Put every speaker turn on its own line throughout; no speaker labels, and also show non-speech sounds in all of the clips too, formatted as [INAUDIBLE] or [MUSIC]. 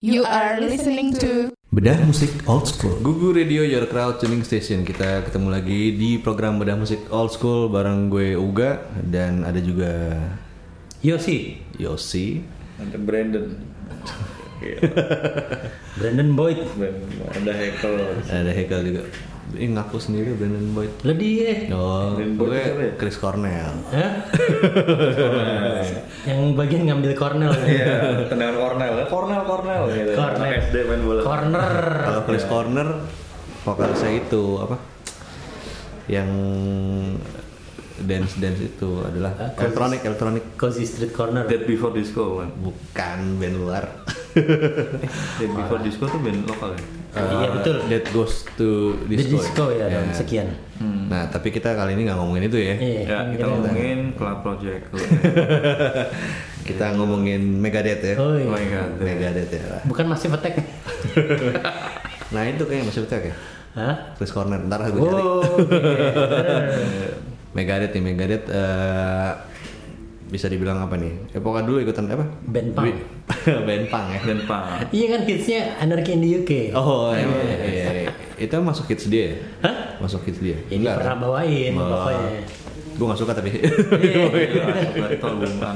You are listening to
Bedah musik old school.
Gugu Radio Your Crowd Tuning Station Kita ketemu lagi di program Bedah Musik Old School Bareng gue Uga Dan ada juga
Yosi,
Yosi
Ada Brandon.
[LAUGHS]
Brandon Boyd.
Ada Hekel.
Ada Hekel juga Ini ngaku sendiri Brandon Boyd
Lah dia.
Oh,
Brandon Boyd
gue
siapa ya?
Chris Cornell
Hah? Yang bagian ngambil corner.
Iya, tendangan Cornell. ya. Cornell, Cornell. Gitu.
Cornell.
Anak SD main bola.
Corner.
Kalau Chris
Iya.
Corner Vokal saya itu apa Yang dance-dance itu adalah elektronik elektronik
Cozy Street Corner.
Dead Before Disco kan.
bukan band luar
Dead Before Disco tuh band lokal ya.
[LAUGHS] Iya, betul.
Eh, That goes to
The
disco,
Disco ya, dong.
Ya.
Sekian.
Nah, tapi kita kali ini nggak ngomongin itu ya.
Iya.
Ya, kita
Iya.
ngomongin Club Project.
Kita ngomongin Megadeth ya.
Oh, iya.
Oh my god.
Megadeth ya.
Bukan masih petek.
Nah, itu kayaknya masih betul ya.
Hah?
Chris Corner ntar gue cari.
Oh.
[LAUGHS]
Megadeth nih, Megadeth eh, bisa dibilang apa nih? Ya pokoknya dulu ikutan apa?
Band punk.
Wi- [LAUGHS] Band punk ya.
Dan Pak.
Iya kan hitsnya Anarchy in the UK.
Oh, iya, iya, iya, iya. Itu masuk hits dia ya?
Hah?
Masuk hits dia? kan?
Ini pernah bawain pokoknya.
Gue gak suka tapi.
Iya, Betul, bukan.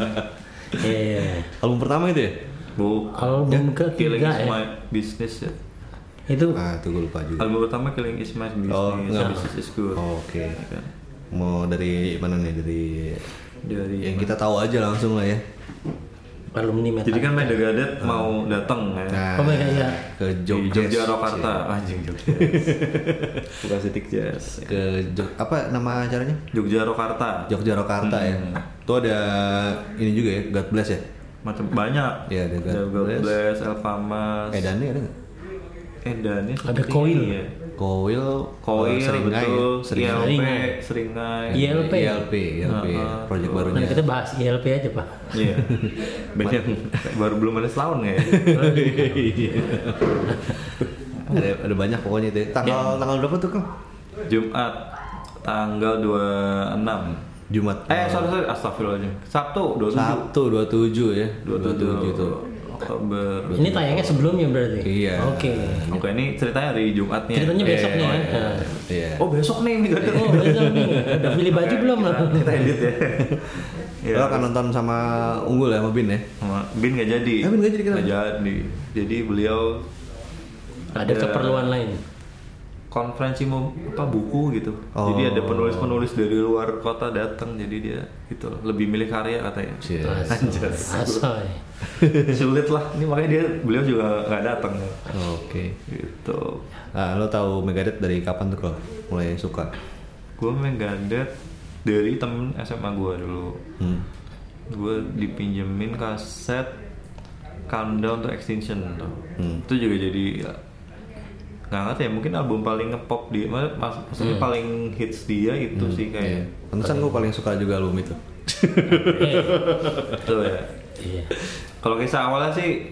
Iya.
[LAUGHS] Album pertama itu ya?
Bu.
Album
Killing
ketiga ya.
is my business ya.
Itu
Ah, itu gue lupa juga.
Album pertama Killing is my business.
Oh, enggak.
business is good.
Oh, Oke. Mau dari mana nih? Dari
Dari
yang kita tahu aja langsung lah ya.
alumni metal.
Jadi kan Megadeth mau datang ya.
Nah,
Oh my God, iya.
ke
Di
Jogja,
Jogja Jakarta anjing Jogja [LAUGHS] bukan setik jazz
Ke Jog- apa nama acaranya?
Jogja Jakarta
Jogja Jakarta ya. Tuh ada ini juga ya, God Bless ya.
macam banyak
Iya, ada God
God
Bless.
Bless Eh, Elfamas
Edannya Eh, ada nggak?
Edannya
Ada Coil.
ya.
Koil,
Koil
Seringai, ya?
betul Iya,
Seringai.
ILP Seringai
Iya. ILP.
ILP, ILP, ya. project barunya.
Nah, kita bahas ILP aja, Pak.
[LAUGHS]
Iya. Band yang baru belum ada setahun ya
ada, ada banyak pokoknya itu. ya. Tanggal
Iya.
tanggal berapa tuh Kang?
Jumat tanggal 26
Jumat.
Eh sorry sorry astagfirullahaladzim Sabtu 27
Sabtu 27 ya. 27 tuh.
Oktober
Ini tayangnya sebelumnya berarti.
Iya.
Oke.
Oke ini ceritanya dari Jumatnya
Ceritanya besoknya.
Iya,
ya.
Iya.
Oh besok nih ini Gadot.
Oh, besok nih. Udah pilih baju belum?
kita edit
[LAUGHS]
ya. iya.
Lo akan nonton sama Unggul ya, sama Bin ya?
Sama Bin nggak jadi.
Eh, Bin nggak jadi kenapa?
Nggak jadi. Jadi beliau eh,
Ada keperluan lain.
konferensi mau apa buku gitu.
Oh.
Jadi ada penulis-penulis dari luar kota datang. Jadi dia itu lebih milih karya katanya.
Cie.
[LAUGHS]
Asoy.
Sulit lah. Ini makanya dia beliau juga nggak datang.
Oke.
Gitu.
Ah, lo tahu Megadeth dari kapan tuh kalau mulai suka?
Gue menggadet dari temen SMA gue dulu.
Hmm.
gue dipinjemin kaset Countdown to Extinction tuh.
Hmm.
itu juga jadi ya, nggak ngerti ya mungkin album paling ngepop dia mas, mas- maksudnya paling hits dia itu sih
Hmm. Iya.
kayak
Pantesan gue paling suka juga album itu.
Betul ya
Iya.
kalau kisah awalnya sih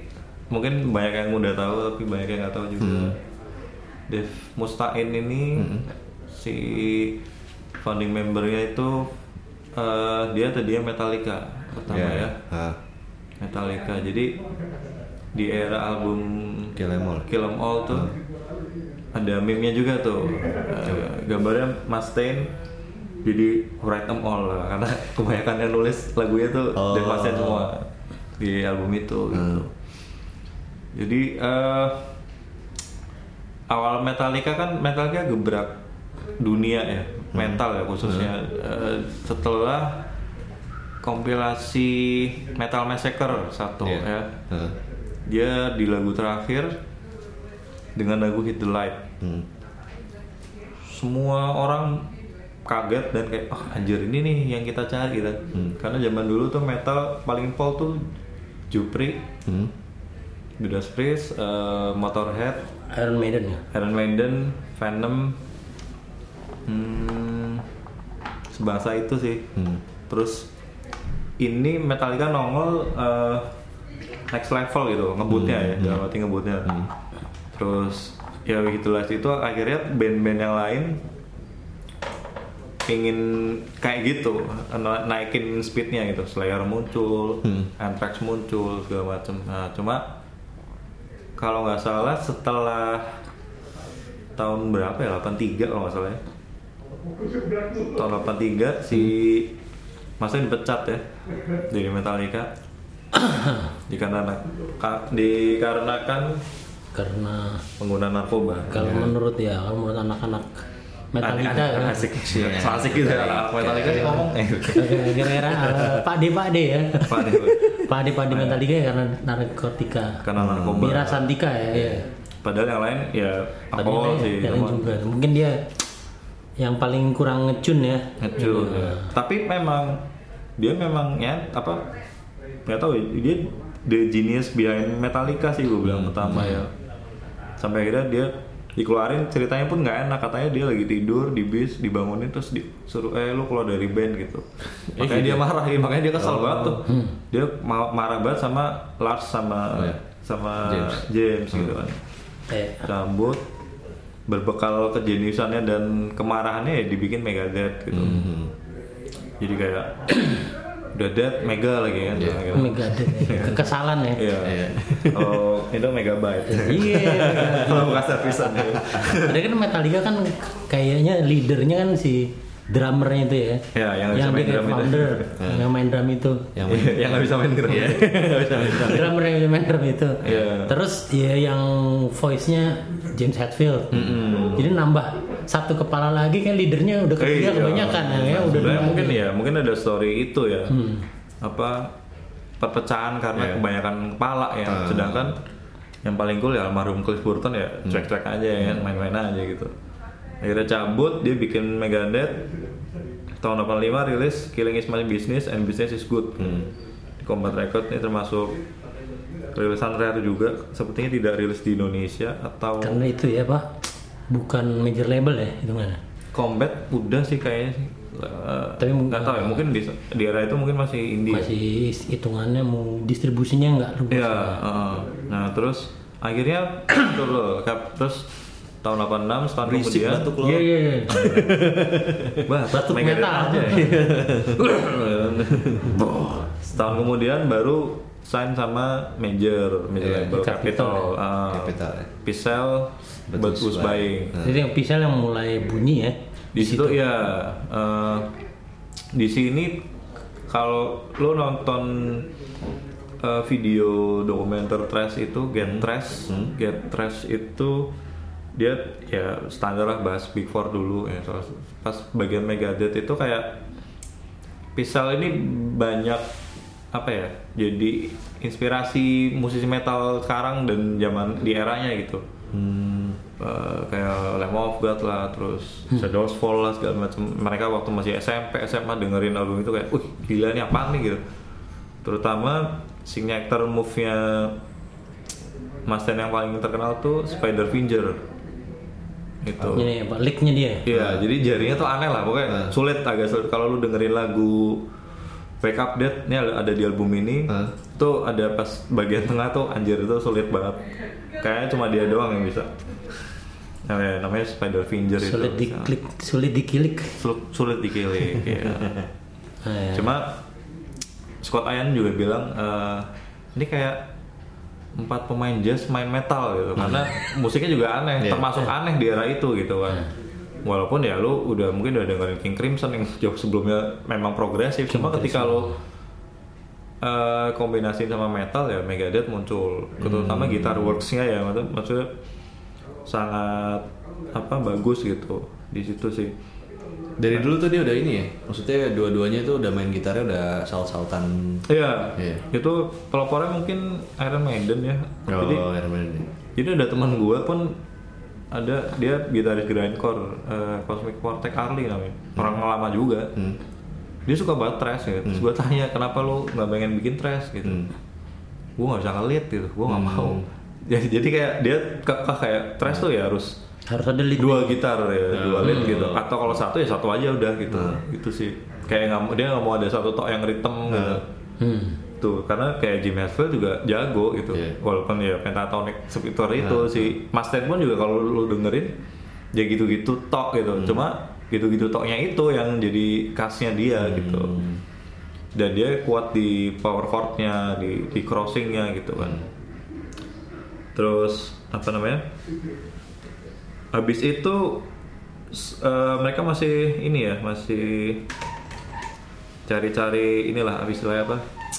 mungkin banyak yang udah tahu tapi banyak yang nggak tahu juga Dev Mustain ini si founding membernya itu eh, dia tadinya Metallica pertama ya
Ah,
Metallica. Jadi di era album
Kill 'Em All. Hmm.
Kill 'Em All tuh ada meme-nya juga tuh. Eh, gambarnya Mustaine jadi write 'em all lah. karena [LAUGHS] kebanyakan yang nulis lagunya tuh
Oh. Hmm.
Dave Mustaine semua di album itu gitu. Jadi eh, awal Metallica kan Metallica gebrak dunia ya, metal ya khususnya Eh, setelah kompilasi Metal Massacre satu
Iya.
ya.
ah.
Dia di lagu terakhir dengan lagu Hit the Light.
Hmm.
Semua orang kaget dan kayak oh anjir ini nih yang kita cari gitu. Karena zaman dulu tuh metal paling pol tuh Jupri,
Hmm.
Judas Priest, eh, Motorhead,
Iron Maiden ya.
Iron Maiden, Venom, hmm, sebangsa itu sih. Terus ini Metallica nongol eh, next level gitu, ngebutnya ya, dalam arti ngebutnya. Terus ya gitulah itu akhirnya band-band yang lain pingin kayak gitu na- naikin speednya
Hmm.
gitu Slayer muncul, Anthrax muncul segala macem. Nah cuma kalau nggak salah setelah tahun berapa ya 83 kalau nggak salah ya tahun 83 si Masnya dipecat ya dari Metallica [COUGHS] dikarenakan ka- dikarenakan
karena
penggunaan narkoba
kalau menurut ya kalau menurut anak-anak Metallica
Aneh,
kan
aneh, asik so asik gitu ya anak Metallica sih ngomong eh, [LAUGHS]
gara-gara eh, Pak D Pak D ya
apa nih, Bu?
Pak D
Oh,
Pak D Metallica ya karena narkotika
karena narkoba
Mira Santika ya, ya.
padahal yang lain ya
Tapi
alkohol
dia
sih
jalan
cuma-
juga mungkin dia yang paling kurang ngecun ya
Ngecul. Tapi memang dia memang ya apa nggak tahu ya, dia the genius behind Metallica sih gue bilang pertama ya. Sampai akhirnya dia dikeluarin ceritanya pun nggak enak katanya dia lagi tidur di bis dibangunin terus disuruh eh lu keluar dari band gitu makanya dia marah ya, makanya dia kesel banget tuh dia ma- marah banget sama Lars sama
Oh, iya.
sama
James.
James, gitu kan
Eh,
rambut berbekal kejeniusannya dan kemarahannya ya dibikin Megadeth gitu. Jadi kayak [CLEARS THROAT] udah dead mega lagi kan. Mega.
Megadeth ya.
[LAUGHS]
kekesalan ya
Iya. Oh, itu megabyte.
Iya, Megadeth.
[LAUGHS] Kalau bukan servisan ya.
Ada kan Metallica kan kayaknya leadernya kan si drummernya itu ya.
Ya, yang bisa main
dia kayak
drum itu. [LAUGHS] Ya.
founder, yang main drum itu.
Yang
Yang nggak bisa main drum. [LAUGHS]
drummer yang bisa main drum itu.
Iya.
Terus ya yang voice-nya James Hetfield. Jadi nambah satu kepala lagi kan leadernya udah ketiga
Iya.
kebanyakan ya, ya udah Hmm.
Sebenarnya
dua.
mungkin ya, mungkin ada story itu ya. Apa perpecahan karena kebanyakan kepala ya. Sedangkan yang paling cool ya almarhum Cliff Burton ya cuek-cuek aja ya, main-main aja gitu. Akhirnya cabut, dia bikin Megadeth tahun 85 rilis Killing Is My Business and Business Is Good. Combat Record ini termasuk rilisan rare juga, sepertinya tidak rilis di Indonesia atau
Karena itu ya, Pak. Bukan major label ya hitungannya.
Combat udah sih kayaknya sih. Eh,
Tapi mungkin-
nggak tahu ya, mungkin di, di era itu mungkin masih indie.
Masih hitungannya mau distribusinya nggak luas.
Iya, heeh. Nah, terus akhirnya [CLEARS THROAT] dulu Kap, terus tahun 86 setahun
Berisik
kemudian [LAUGHS]
batuk lo.
Iya, iya, iya.
Bah,
Batuk
Megadeth ya.
metal.
setahun kemudian baru sign sama major, major
Iya,
label
Capital.
Capital, ah,
Capital, ya.
Pixel,
Bagus
Bagus
Buying.
Buying.
Jadi yang pisah yang mulai bunyi ya.
di situ ya eh, di sini kalau lo nonton eh, video dokumenter trash itu Get Trash Get Trash itu dia ya standar lah bahas Big Four dulu ya soal- pas bagian Megadeth itu kayak Pisal ini banyak apa ya jadi inspirasi musisi metal sekarang dan zaman di eranya gitu Eh, kayak Lamb of God lah terus Shadows Fall lah segala macam mereka waktu masih SMP SMA dengerin album itu kayak wih gila nih apaan nih gitu terutama signature move-nya Mas Ten yang paling terkenal tuh Spider Finger itu
Ini ya, Pak, licknya dia.
Iya, jadi jarinya tuh aneh lah pokoknya sulit agak sulit kalau lu dengerin lagu Wake Up Dead ini ada, ada di album ini
Hah?
tuh ada pas bagian tengah tuh anjir itu sulit banget kayaknya cuma dia doang yang bisa namanya, namanya Spider Finger
sulit
itu
diklik sulit dikilik
sulit, sulit dikilik ya.
nah, ya.
Cuma Scott Ian juga bilang eh, ini kayak empat pemain jazz main metal gitu karena musiknya juga aneh, termasuk aneh di era itu gitu kan. Walaupun ya lu udah mungkin udah dengerin King Crimson yang [LAUGHS] jauh sebelumnya memang progresif, cuma ketika lu eh kombinasi sama metal ya Megadeth muncul, terutama gitar works-nya ya maksud- maksudnya sangat apa bagus gitu di situ sih.
Dari dulu tuh dia udah ini ya. Maksudnya dua-duanya tuh udah main gitarnya udah salt-saltan.
Iya,
Iya.
itu pelopornya mungkin Iron Maiden ya. Jadi,
Oh, Iron Maiden.
jadi ada teman gue pun ada dia gitaris grindcore eh, Cosmic Vortex Arli namanya,
Hmm.
orang lama juga. Dia suka banget trash gitu.
Hmm.
Terus gue tanya kenapa lu nggak pengen bikin trash gitu. Gue nggak bisa ngelit gitu, gue nggak
Hmm.
mau. [LAUGHS] Jadi, jadi kayak dia kekeh kayak trash tuh ya harus
harus ada lead Hmm.
dua gitar ya, dua lead gitu. Atau kalau satu ya satu aja udah gitu. Itu sih kayak nggak mau- dia nggak mau ada satu tok yang ritme gitu
hmm.
tuh karena kayak Jim Hetfield juga jago gitu
Iya.
walaupun ya pentatonic sekitar itu si Mas Ted pun juga kalau lu dengerin ya gitu-gitu tok gitu cuma gitu-gitu toknya itu yang jadi khasnya dia gitu dan dia kuat di power chordnya di di crossingnya gitu kan terus apa namanya habis itu s- eh, mereka masih ini ya masih cari-cari inilah habis istilahnya apa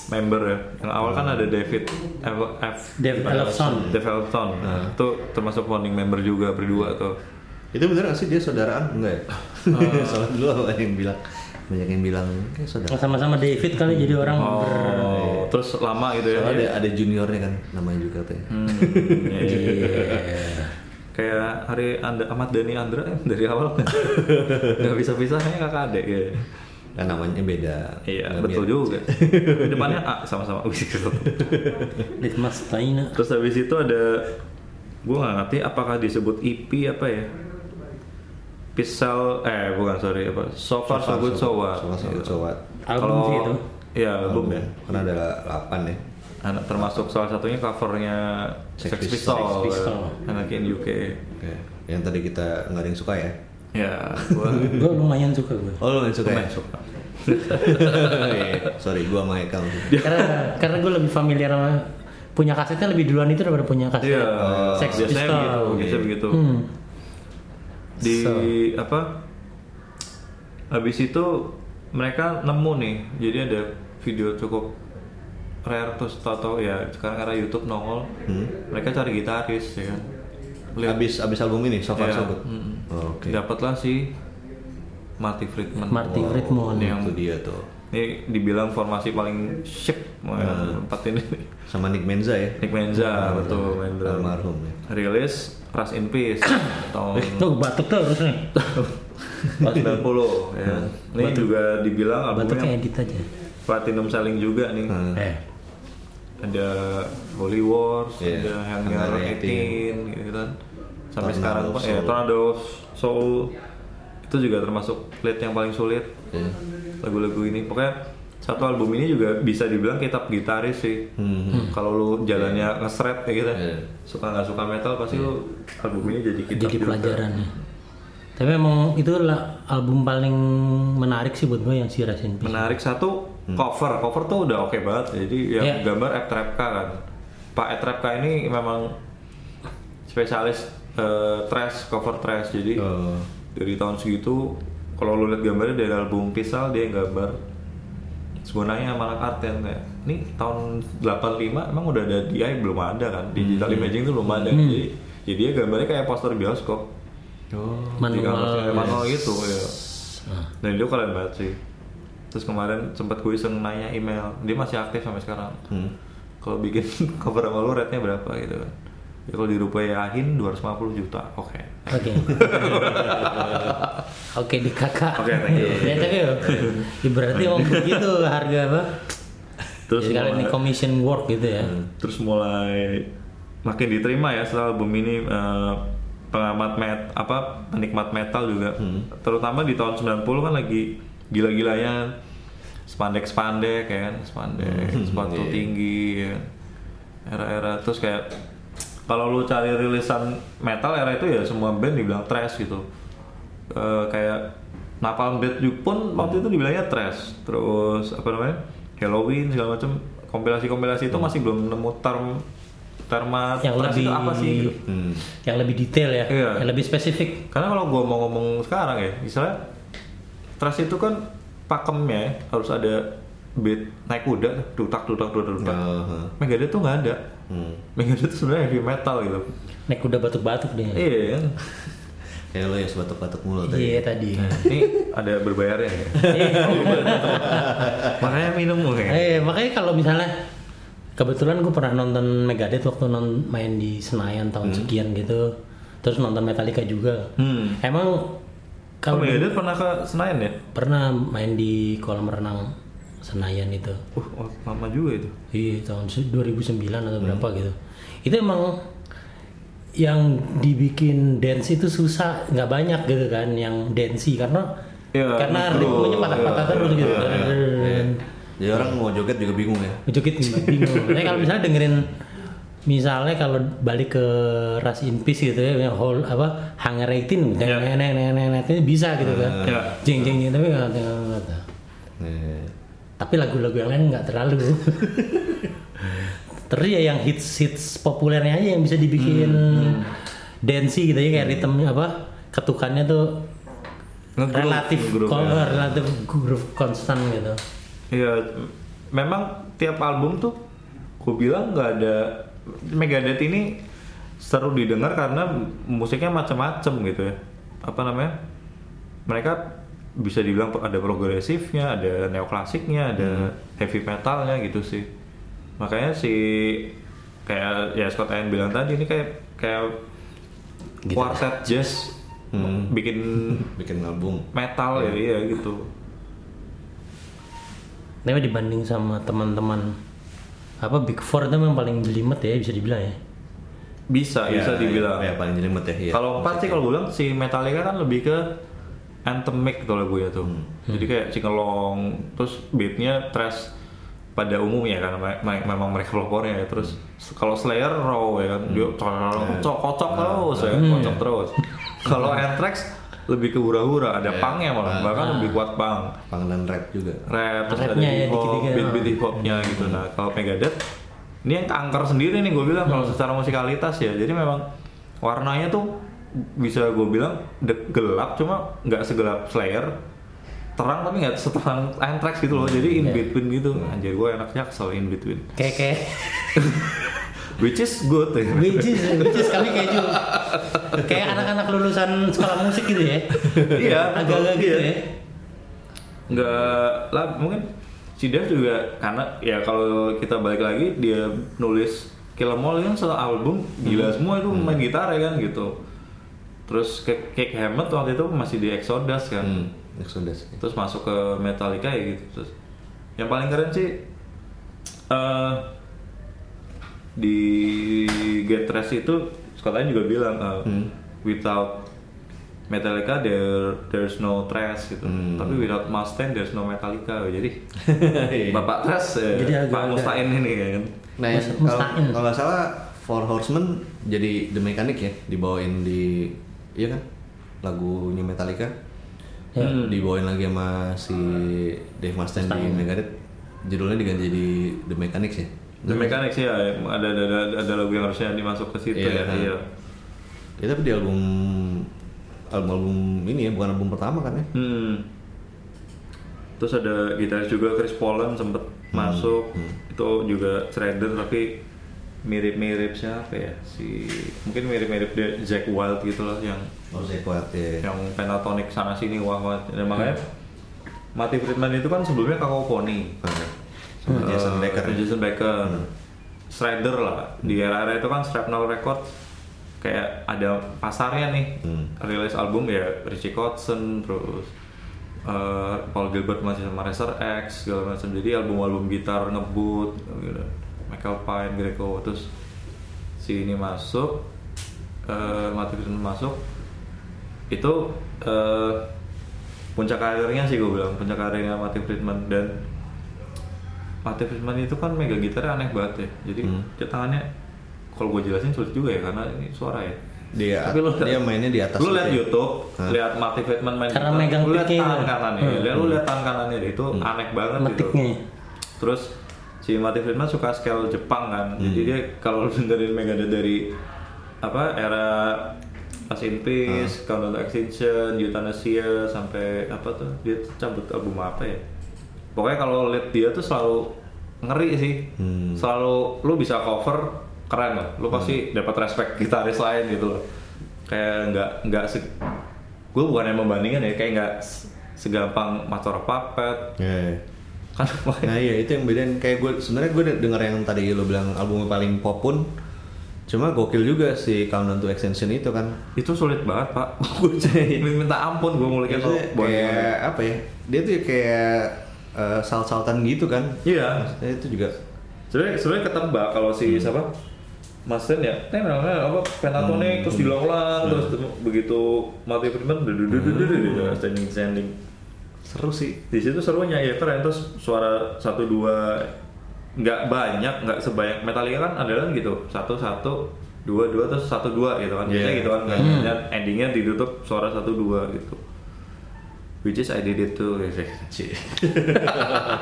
member ya yang awal kan ada David F, F
Dave Ellefson.
Dave Ellefson. itu termasuk founding member juga berdua tuh
Itu bener gak sih dia saudaraan? Enggak ya?
Oh.
[LAUGHS] Soalnya dulu ada yang bilang banyak yang bilang kayak saudara.
sama-sama David kali jadi orang
Ya. oh
ber-
terus lama gitu ya
Soalnya ada, ada juniornya kan namanya juga katanya.
Hmm, [LAUGHS] iya, iya, iya.
[LAUGHS]
Kayak hari Anda Ahmad Dhani Andra eh, dari awal [LAUGHS] nggak bisa pisahnya kakak adek ya.
Kan namanya beda.
Iya
Nggak
betul
biar-
juga. Di Depannya A sama-sama. [LAUGHS] Wih,
Litmas Taina.
Terus habis itu ada gue nggak ngerti apakah disebut EP apa ya? Pisau eh bukan sorry apa? So far so good so what. Gitu.
So far, so good, so what.
Album
Kalau-
sih itu.
Iya album ya.
Karena ada 8 ya.
Anak termasuk salah satunya covernya
Sex
Sex
Pistol.
Pistol,
Sex Pistol.
anak in
[LAUGHS]
UK.
Oke. Yang tadi kita nggak ada yang suka ya.
Ya, gua
Eh,
Gue lumayan suka gue.
Oh, lu yang suka ya?
suka.
[LAUGHS] Iya. Sorry, gua sama Michael.
karena karena gue lebih familiar sama punya kasetnya lebih duluan itu daripada punya kaset.
Iya,
Sex
biasanya
Pistol.
begitu, biasanya begitu.
Hmm.
Di
So.
apa? Habis itu mereka nemu nih, jadi ada video cukup rare terus tato ya sekarang karena YouTube nongol, mereka cari gitaris ya. kan. Lihat-
Abis, abis album ini, so far
Iya,
so good.
mm-mm.
Ah, Oke.
dapatlah si Marty Friedman.
Marty
Wow.
Friedman.
yang
Itu dia tuh.
ini dibilang formasi paling ship empat ini.
Sama Nick Menza ya.
Nick Menza, betul Menza. Eh,
Almarhum ya.
Rilis Rust in Peace tahun
Eh, Tuh batuk terus
[LAUGHS]
nih.
90 ya. Ini juga dibilang
Batuknya
albumnya
edit aja.
platinum selling juga nih.
Hmm.
Eh.
Ada Holy Wars,
Iya,
ada yang
Hangar
18 gitu kan.
Tornado
Sampai sekarang pun ya
Soul.
Tornado Soul itu juga termasuk lead yang paling sulit.
Iya.
Lagu-lagu ini pokoknya satu album ini juga bisa dibilang kitab gitaris sih. Kalau lu jalannya ngesret ya gitu.
Hmm. Iya.
Suka nggak suka metal pasti lu album ini jadi kitab
jadi
juga.
pelajaran ya. Tapi emang itu lah album paling menarik sih buat gue yang si Resin
menarik satu cover cover tuh udah oke banget jadi yang
Iya.
gambar Etrepka kan Pak Etrepka ini memang spesialis eh, trash cover trash jadi
Oh.
dari tahun segitu kalau lu lihat gambarnya dari album Pisal dia yang gambar sebenarnya malah karten ya ini tahun 85 emang udah ada DI belum ada kan digital imaging tuh belum ada jadi jadi dia gambarnya kayak poster bioskop
Manual. Ah.
Manual, manual gitu ya. Dan itu keren banget sih. Terus kemarin sempat gue iseng nanya email, dia masih aktif sampai sekarang. Kalau bikin [LAUGHS] cover sama lu rate-nya berapa gitu kan. Ya kalau dirupiahin 250 juta. Oke. [LAUGHS]
Oke. Oke di kakak.
Oke, thank you.
Ya tapi ya, ya berarti emang begitu harga apa?
Terus Hmm.
Jadi kalau ini
mulai-
commission work gitu ya.
Terus mulai makin diterima ya setelah album ini eh, pengamat met apa penikmat metal juga. Terutama di tahun 90 kan lagi gila-gilanya spandek-spandek ya kan, spandek, sepatu tinggi ya. kan. Era-era terus kayak kalau lu cari rilisan metal era itu ya semua band dibilang trash gitu. Eh, kayak Napalm Death juga pun waktu itu dibilangnya trash. Terus apa namanya? Halloween segala macam kompilasi-kompilasi itu masih belum nemu term terma
Yang
trash
lebih
itu apa sih? gitu.
Yang lebih detail ya,
Iya.
yang lebih spesifik.
Karena kalau gua mau ngomong sekarang ya, misalnya trash itu kan pakemnya harus ada beat naik kuda, dutak dutak dutak dutak.
Ya.
Aha.
Megadeth tuh nggak ada.
Hmm.
Megadeth tuh sebenarnya heavy metal gitu.
Naik kuda batuk-batuk dia.
Iya. kan?
Kayak lo ya sebatuk-batuk mulu tadi.
Iya tadi.
Ini ada berbayarnya ya. iya. Makanya minum ya.
Eh makanya kalau misalnya kebetulan gue pernah nonton Megadeth waktu non main di Senayan tahun sekian gitu, terus nonton Metallica juga.
Hmm.
Emang
Oh,
kalau
Megadeth pernah ke Senayan ya?
pernah main di kolam renang Senayan itu,
Uh, oh, lama juga itu.
iya tahun se- 2009 atau berapa gitu. Itu emang yang dibikin dance itu susah nggak banyak gitu kan yang dancey karena
Iya,
karena
betul.
ritmenya patah-patah
Iya,
terus gitu.
Eh, Jadi orang mau joget juga bingung ya.
Joget nggak bingung. Tapi kalau misalnya dengerin misalnya kalau balik ke Ras in Peace gitu ya, whole apa Hangar 18 dan
Iya.
nenek nenek nenek itu bisa gitu kan.
Iya.
Jeng jeng jeng tapi nggak nggak- nggak tahu.
Nih.
[LAUGHS]
Tapi lagu-lagu yang lain nggak terlalu. Terus ya yang hits-hits populernya aja yang bisa dibikin
Hmm,
dancey gitu ya kayak ritmenya apa ketukannya tuh
Nge-groove,
relatif
nge-groove
ko- eh,
ya.
relatif groove konstan gitu.
Iya, memang tiap album tuh gue bilang nggak ada Megadeth ini seru didengar karena musiknya macam-macam gitu ya. Apa namanya? Mereka bisa dibilang ada progresifnya, ada neoklasiknya, ada
Hmm.
heavy metalnya gitu sih. Makanya si kayak ya Scott Ian bilang tadi ini kayak kayak quartet jazz
Gitu. Hmm.
bikin
bikin album
metal ya, iya gitu.
Tapi dibanding sama teman-teman apa Big Four itu memang paling jelimet ya bisa dibilang ya.
Bisa, bisa dibilang.
ya, paling jelimet ya iya.
Kalau empat sih kalau gue bilang si Metallica kan lebih ke anthemic kalau gue ya tuh. Jadi kayak cingelong, terus beatnya trash pada umumnya kan me- me- memang mereka pelopornya ya. Terus s- kalau Slayer raw ya kan, dia cocok- kocok kocok terus ya, kocok terus. Kalau Anthrax lebih ke hura-hura, ada pangnya malah, bahkan lebih kuat pang.
pang dan rap juga
Rap, terus ada
Rapnya ya, Hmm.
hip hop,
dikit-dikit.
beat-beat hip hopnya gitu. Nah kalau Megadeth ini yang angker sendiri nih gue bilang
Hmm.
kalau secara musikalitas ya. Jadi memang warnanya tuh bisa gue bilang de- gelap cuma nggak segelap Slayer terang tapi nggak seterang Anthrax gitu loh
Hmm,
jadi
iya.
in between gitu anjir gue enaknya kesel in between
Kayak
[LAUGHS]
kayak
which is good ya.
which is, which is kami keju. gitu. Kayak anak-anak lulusan sekolah musik gitu ya.
Iya,
Agak-agak
betul,
gitu
iya.
ya.
nggak lah mungkin si Dev juga karena ya kalau kita balik lagi dia nulis Kill 'Em All kan satu album gila semua itu main gitar ya kan gitu terus ke Cake Hammett waktu itu masih di Exodus kan
hmm. Exodus
terus masuk ke Metallica ya gitu terus yang paling keren sih eh di Get Rest itu Scotland juga bilang eh, without Metallica there there's no trash gitu tapi without Mustang there's no Metallica jadi bapak trash eh,
Jadi agak-
Pak
agak-
Mustain ini kan
Nah,
Mas-
yang-
Musta'in.
kalau kalau nggak salah Four Horsemen jadi The Mechanic ya dibawain di iya kan lagunya Metallica Hmm, dibawain lagi sama si Dave Mustaine di Megadeth judulnya diganti jadi The Mechanics ya
The Mechanics ya ada ada ada, ada lagu yang harusnya dimasuk ke situ
Iya,
ya
kan.
iya
ya tapi di album album album ini ya bukan album pertama kan ya
Hmm. Terus ada gitaris juga Chris Pollan sempet masuk itu juga shredder tapi mirip-mirip siapa ya si mungkin mirip-mirip dia- Jack Wild gitu loh yang
Oh, Zach Wild, ya.
yang pentatonic sana sini wah wah dan makanya Mati Friedman itu kan sebelumnya Kakoponi
Nah, sama
Hmm.
Jason Hmm. Becker
Eh, Sama Jason Becker. Strider lah. Di era-era itu kan Shrapnel Records kayak ada pasarnya nih.
Hmm.
Rilis album ya Richie Kotzen terus eh, Paul Gilbert masih sama Racer X segala macam. Jadi album-album gitar ngebut gitu. Michael Pine, Greco terus si ini masuk eh Mati Friedman masuk itu eh, puncak karirnya sih gue bilang puncak karirnya Mati Friedman dan Mati Friedman itu kan mega gitarnya aneh banget ya jadi
Hmm.
dia tangannya kalau gue jelasin sulit juga ya karena ini suara ya
dia
Tapi lu-
dia mainnya di atas
lu
gitu
lihat
ya.
YouTube
Hah?
lihat Mati Friedman main
Karena
gitar,
megang
lu lihat
picknya
tangan
itu.
kanannya ya, lu lihat tangan kanannya deh,
Hmm.
itu aneh banget
Metiknya. ya.
gitu terus si Mati Friedman suka scale Jepang kan jadi dia kalau [LAUGHS] lu dengerin Megadeth dari apa era As in Peace, Countdown to Extinction, Euthanasia, sampai apa tuh dia tuh cabut album apa ya? Pokoknya kalau lihat dia tuh selalu ngeri sih, selalu lu bisa cover keren loh, lu pasti dapat respect gitaris lain gitu loh. Kayak nggak nggak se, gue bukan yang membandingkan ya, kayak nggak se- segampang Master of Puppet [LAUGHS]
Ya, ya.
kan makanya-
Nah iya itu yang bedain kayak gue sebenarnya gue denger yang tadi lo bilang albumnya paling pop pun cuma gokil juga si Countdown to Extinction itu kan
itu sulit banget pak [LAUGHS] gue jadi minta ampun gue mulai "Oh,
Maksudnya Iya, kayak apa ya dia tuh kayak eh, salt-saltan gitu kan
iya
Maksudnya itu juga
sebenarnya sebenarnya ketebak kalau si
Hmm.
siapa Masten ya kan namanya apa pentatonic terus
Hmm.
diulang-ulang terus tem- begitu mati Friedman dudududududu, standing standing
seru sih
di situ serunya ya keren terus suara satu dua nggak banyak nggak sebanyak Metallica kan adalah gitu satu satu dua dua terus satu dua gitu kan biasanya
Iya.
gitu kan Dan endingnya ditutup suara satu dua gitu Which is I did it too. Cik. [LAUGHS]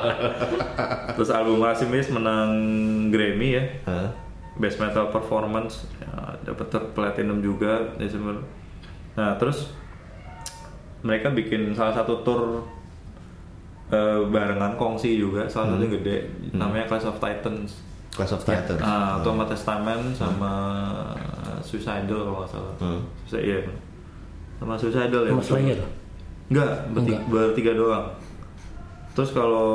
Terus album Rasimis menang Grammy ya.
Hah?
Best Metal Performance ya, dapat ter- platinum juga Desember. Nah terus mereka bikin salah satu tour eh, barengan kongsi juga salah satunya gede namanya Clash of Titans.
Class Hmm. of Titans.
Ah, atau sama Testament sama Suicidal kalau nggak salah.
Hmm.
Suicide- iya. Sama Suicidal ya.
Mas
betul.
Slayer.
Enggak, berti-
Enggak.
bertiga doang. Terus kalau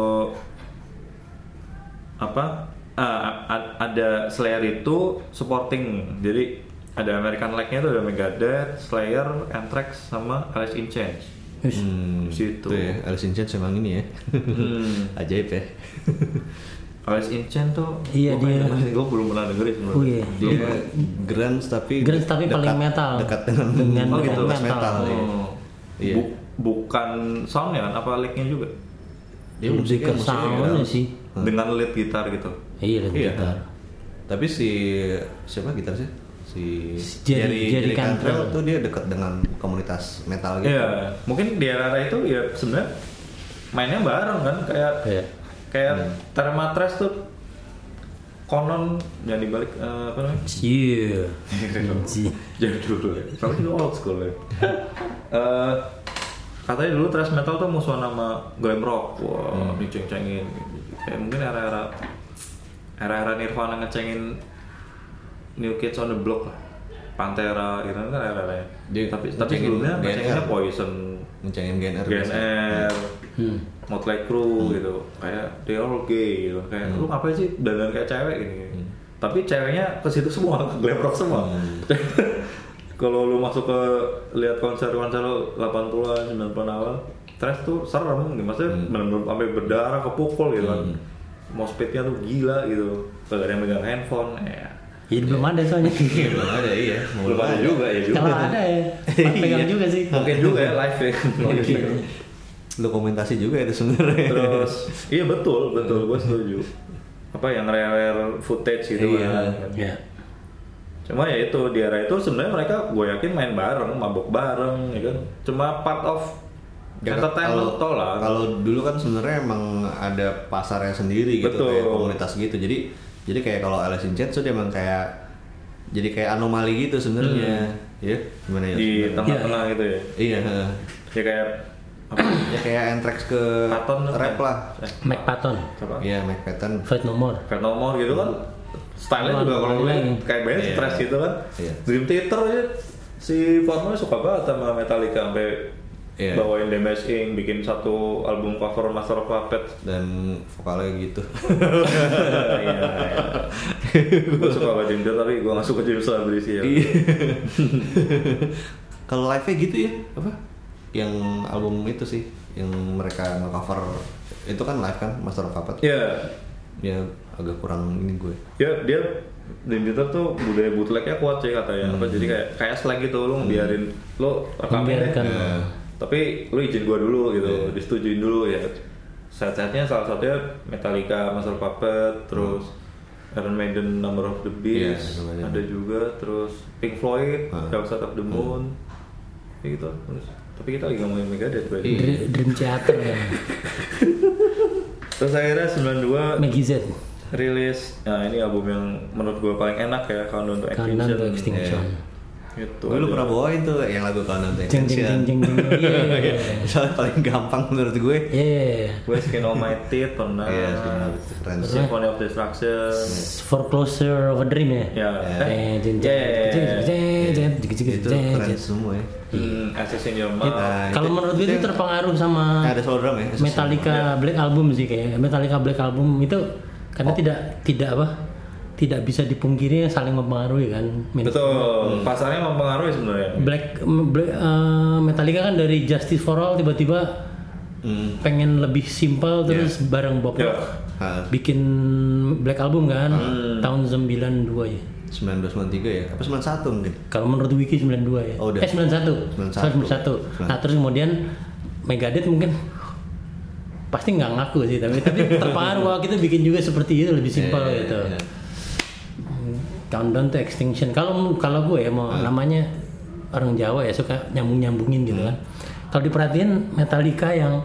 apa? ah, a- ada Slayer itu supporting. Jadi ada American Leg-nya itu ada Megadeth, Slayer, Anthrax sama Alice in Chains.
Wis.
Hmm,
Situ.
Itu ya, Alice in Chains emang ini ya.
Hmm.
[LAUGHS] Ajaib
[LAUGHS]
ya.
Alice in Chains tuh
Iya,
gua
dia-
pengen- gua belum pernah dengerin sebenarnya.
Oh, iya.
Dia grunge tapi
Grunge
de-
tapi paling metal.
Dekat dengan,
Dengan
Oh, gitu.
metal. metal
metal.
ya.
Oh.
Iya.
Bu- bukan sound ya kan apa lead-nya juga?
Dia
Lebih
musiknya
ke
musiknya
sound
grunge.
sih.
Dengan lead gitar gitu.
Iya,
Iya.
gitar.
Tapi si siapa gitar sih? Si
Si Jerry- Jerry Cantrell.
tuh dia dekat dengan komunitas metal gitu.
Iya, mungkin di era itu ya sebenarnya mainnya bareng kan kayak
Iya.
kayak Termatres tuh konon yang dibalik eh, apa namanya
Iya. Anjing.
jadul ya, tapi itu old school ya. Eh, katanya dulu thrash metal tuh musuhan sama glam rock, wah diceng-cengin. Kayak mungkin era-era era-era Nirvana ngecengin New Kids on the Block lah. Pantera gitu kan era-era
Dia
Tapi tapi
ngecengin
sebelumnya
GNR.
ngecenginnya Poison,
Mencangin Gen R. biasanya.
GNR,
Hmm.
Motley Crue gitu, kayak they all gay gitu, kayak
Hmm.
lu ngapain sih dandan kayak cewek gini. Tapi ceweknya ke situ semua, [LAUGHS] ke glam rock semua.
Hmm.
[LAUGHS] Kalau lu masuk ke lihat konser-konser 80-an, 90-an awal, trash tuh serem, gitu. maksudnya
Hmm.
bener-bener sampai berdarah kepukul gitu kan. Mospitnya tuh gila gitu, kagak ada yang megang handphone, ya.
Iya, belum ada soalnya.
Iya, belum ada iya. Belum
Belum ada
ada.
juga ya juga.
Kalau ada ya, pegang juga sih.
Mungkin juga ya live ya. [LAUGHS]
Dokumentasi juga itu sebenarnya. [LAUGHS]
Terus [LAUGHS] iya betul betul gue setuju. Apa yang rare footage gitu
Iya.
kan.
Iya.
Cuma ya itu di era itu sebenarnya mereka gue yakin main bareng, mabok bareng, ya kan. Cuma part of
Ya,
entertainment tol lah.
Kalau dulu kan sebenarnya emang ada pasarnya sendiri gitu
Betul.
kayak komunitas gitu. Jadi jadi kayak kalau Alice in Chains tuh dia emang kayak jadi kayak anomali gitu sebenarnya. Iya, gimana ya?
Hmm. di
sebenarnya?
tengah-tengah gitu ya.
Iya, heeh.
Ya kayak apa?
ya kayak Anthrax ke
Patton
rap lah.
Eh,
Mac Patton,
siapa?
Iya, Mike Patton.
Fight No More.
Fat No More gitu kan.
Bukan,
Stylenya juga kalau gue
bukan.
kayak banyak
Iya.
stress gitu kan.
Iya.
Dream Theater aja si Fatma suka banget sama Metallica sampai
Iya.
bawain Damage Inc, bikin satu album cover Master of Puppets.
dan vokalnya gitu. [LAUGHS]
Iya.
iya.
Gue suka sama Dream Theater tapi gue gak suka James Labris ya.
Kalau live-nya gitu ya, apa? Yang album itu sih, yang mereka nge-cover itu kan live kan, Master of Puppets.
Iya.
Ya agak kurang ini gue.
Ya dia Dream Theater tuh budaya bootlegnya kuat sih katanya. Apa jadi kayak kayak slag gitu lu biarin lu rekamin deh.
Membiarkan.
Iya.
tapi lu izin gua dulu gitu disetujuin dulu ya set-setnya salah satunya Metallica Master Puppet terus Iron Maiden Number of the
Hmm. Iya,
Beast
Iron Maiden.
ada juga terus Pink Floyd
Hmm.
Dark Side of the Moon ya gitu terus tapi kita lagi ngomongin Megadeth
Iya.
berarti
Dr- Dream Theater ya.
terus akhirnya 92
Maggie Z.
rilis nah ini album yang menurut gua paling enak ya Countdown to
Kanan
Extinction Gitu.
to Extinction.
itu
Gue lu pernah bawain tuh yang lagu Countdown to
Jeng jeng jeng jeng
Extinction.
jeng.
[LAUGHS]
Iya.
Soalnya paling gampang menurut gue.
Iya, Iya. iya.
[LAUGHS]
gue Skin on My Teeth pernah
Ah.
Iya, Skin on My Teeth, keren sih.
Symphony of Destruction
Foreclosure of a Dream ya.
Iya.
ya
Jeng, jeng, jeng,
Ya, ya, ya,
jeng, jeng,
ya.
jeng, jeng, jeng,
Itu
jeng,
keren
jeng.
semua ya.
Hmm, Access in Your
Iya.
Mouth.
Nah,
Kalau
itu-
menurut gue
itu
itu
yang-
terpengaruh sama
Nah, ada solo drum ya? Access in Your
Ah. Metallica Black Album sih kayaknya. Metallica Black Album itu karena tidak tidak apa? Tidak bisa dipungkiri saling mempengaruhi kan. Min-
Hmm.
Betul, pasarnya mempengaruhi sebenarnya.
Black, Black- eh, Metallica kan dari Justice for All tiba-tiba
Hmm.
pengen lebih simpel terus bareng Bob
Ya.
Rock
Ah,
bikin Black Album kan tahun 92 ya.
1993 ya? Apa 91 mungkin?
Kalau menurut Wiki 92 ya.
Oh, udah.
eh 91.
91.
Sorry, 91. Nah, terus kemudian Megadeth mungkin pasti nggak ngaku sih tapi
[LAUGHS]
tapi terpengaruh wah kita bikin juga seperti itu lebih simpel
Iya, iya,
gitu.
iya.
Countdown to
Iya. Iya.
extinction. Kalau kalau gue ya mau namanya orang Jawa ya suka nyambung-nyambungin gitu kan. Kalau diperhatiin Metallica yang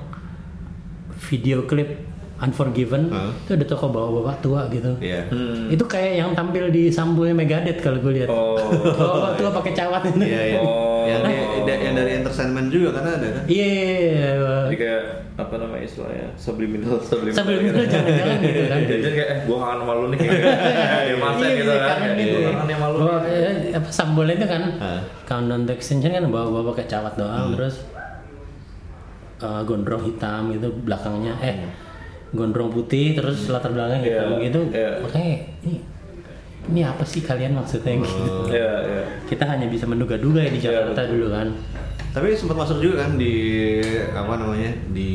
video klip Unforgiven
Hah?
itu ada tokoh bawa-bapak tua gitu.
Iya.
Itu kayak yang tampil di sambonya Megadeth kalau gue lihat. [LAUGHS]
Oh.
bawa tua pakai cawat.
Iya, iya.
Oh.
Yang, dia- yang dari entertainment juga karena ada kan?
Iya.
Jadi kayak apa namanya istilahnya subliminal subliminal.
[LAUGHS] Subliminal, jangan-jangan iya. gitu kan.
Jadi kayak eh gua kangen malu
[LAUGHS]
nih kayak dia maksa
Iya,
gitu
iya,
kan.
kangen
Kayak,
gitu.
"Gua kangen yang malu.
Bawa- eh, apa sambolnya itu kan
Hah.
Countdown to Extinction kan bawa-bawa pakai cawat
Hmm.
doang terus eh, gondrong hitam gitu belakangnya eh gondrong putih terus latar belakangnya
Hmm. Iya,
hitam gitu
iya.
makanya ini ini apa sih kalian maksudnya gitu
Iya, iya.
kita hanya bisa menduga-duga ya di
Iya,
Jakarta dulu kan
Tapi sempat masuk juga kan di apa namanya di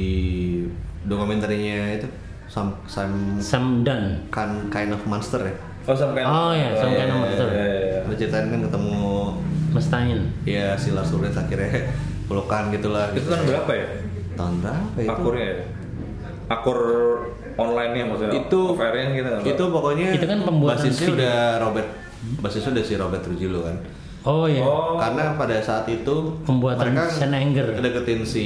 dokumenternya itu Some, Some
Samdan
Kin- Kind of Monster ya.
Oh, sama kayak
Oh, iya, sama kayak nomor satu.
Iya, iya.
Ada ceritain kan ketemu
Mestain
ya si Lars Ulrich akhirnya pelukan gitulah. Gitu.
Itu tahun berapa ya?
Tahun berapa itu?
Akurnya ya. Akur online-nya maksudnya.
itu
off-air-nya gitu kan.
itu pokoknya
Itu kan pembuatan
basisnya
video.
udah Robert basisnya udah si Robert Trujillo kan
oh ya
Oh.
karena pada saat itu
Pembuatan
mereka
Sennheiser.
deketin si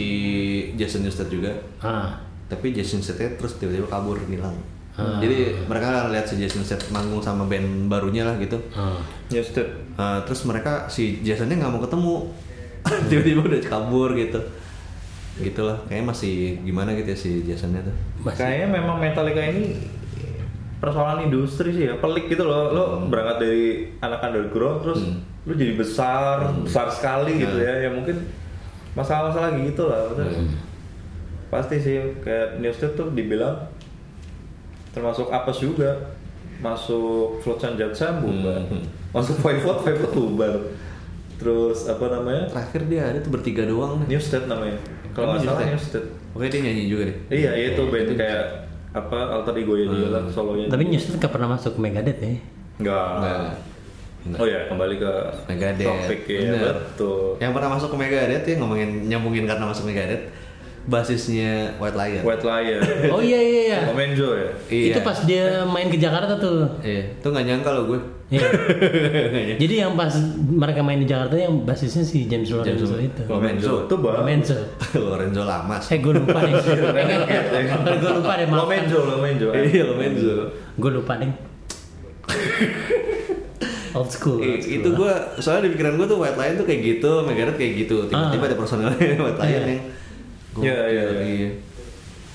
Jason Newsted juga
ah
tapi Jason Newsted terus tiba-tiba kabur hilang
Ah.
jadi mereka lihat si Jason Newsted manggung sama band barunya lah gitu
ah
Newsted.
Eh, terus mereka si Jasonnya nggak mau ketemu [LAUGHS] tiba-tiba udah kabur gitu gitulah kayaknya masih gimana gitu ya si Jasonnya tuh
masih
Kayaknya memang Metallica ini persoalan industri sih ya pelik gitu loh lo berangkat dari anak underground terus
Hmm.
lo jadi besar besar sekali
Nah.
gitu ya ya mungkin masalah-masalah gitu lah betul.
Hmm.
pasti sih kayak Newsted tuh dibilang termasuk apes juga masuk Flotsam Jetsam bubar
Hmm.
masuk Voivod Voivod bubar terus apa namanya
terakhir dia ada tuh bertiga doang nih
Newsted namanya kalau nggak salah Newsted
Oke dia nyanyi juga deh
Iya, iya itu band kayak apa alter ego ya
Hmm.
dia lah solonya.
tapi Newsted nggak pernah masuk ke Megadeth ya
enggak.
Nggak.
Oh ya, kembali ke
Megadeth.
topik ya,
Bener.
betul.
Yang pernah masuk ke Megadeth ya ngomongin nyambungin karena masuk Megadeth basisnya White Lion.
White Lion.
Iya. oh iya iya iya
Komenjo ya.
Iya.
Itu pas dia main ke Jakarta tuh.
Iya, itu nggak nyangka loh gue.
Iya.
[LAUGHS]
Iya.
Jadi yang pas mereka main di Jakarta yang basisnya si James Lorenzo itu.
Lorenzo.
Itu bang.
Lorenzo.
Lorenzo Lamas.
Eh gue lupa
[LAUGHS]
deh.
Iya, kan?
gue lupa deh maaf.
Lomenjo, Lomenjo.
Iya, Lorenzo.
Gue lupa deh. Old school.
I-
old school.
itu gue soalnya di pikiran gue tuh White Lion tuh kayak gitu, Megadeth kayak gitu. Tiba-tiba
Ah.
ada personelnya [LAUGHS] White Lion yang Gokil,
Iya, iya, iya.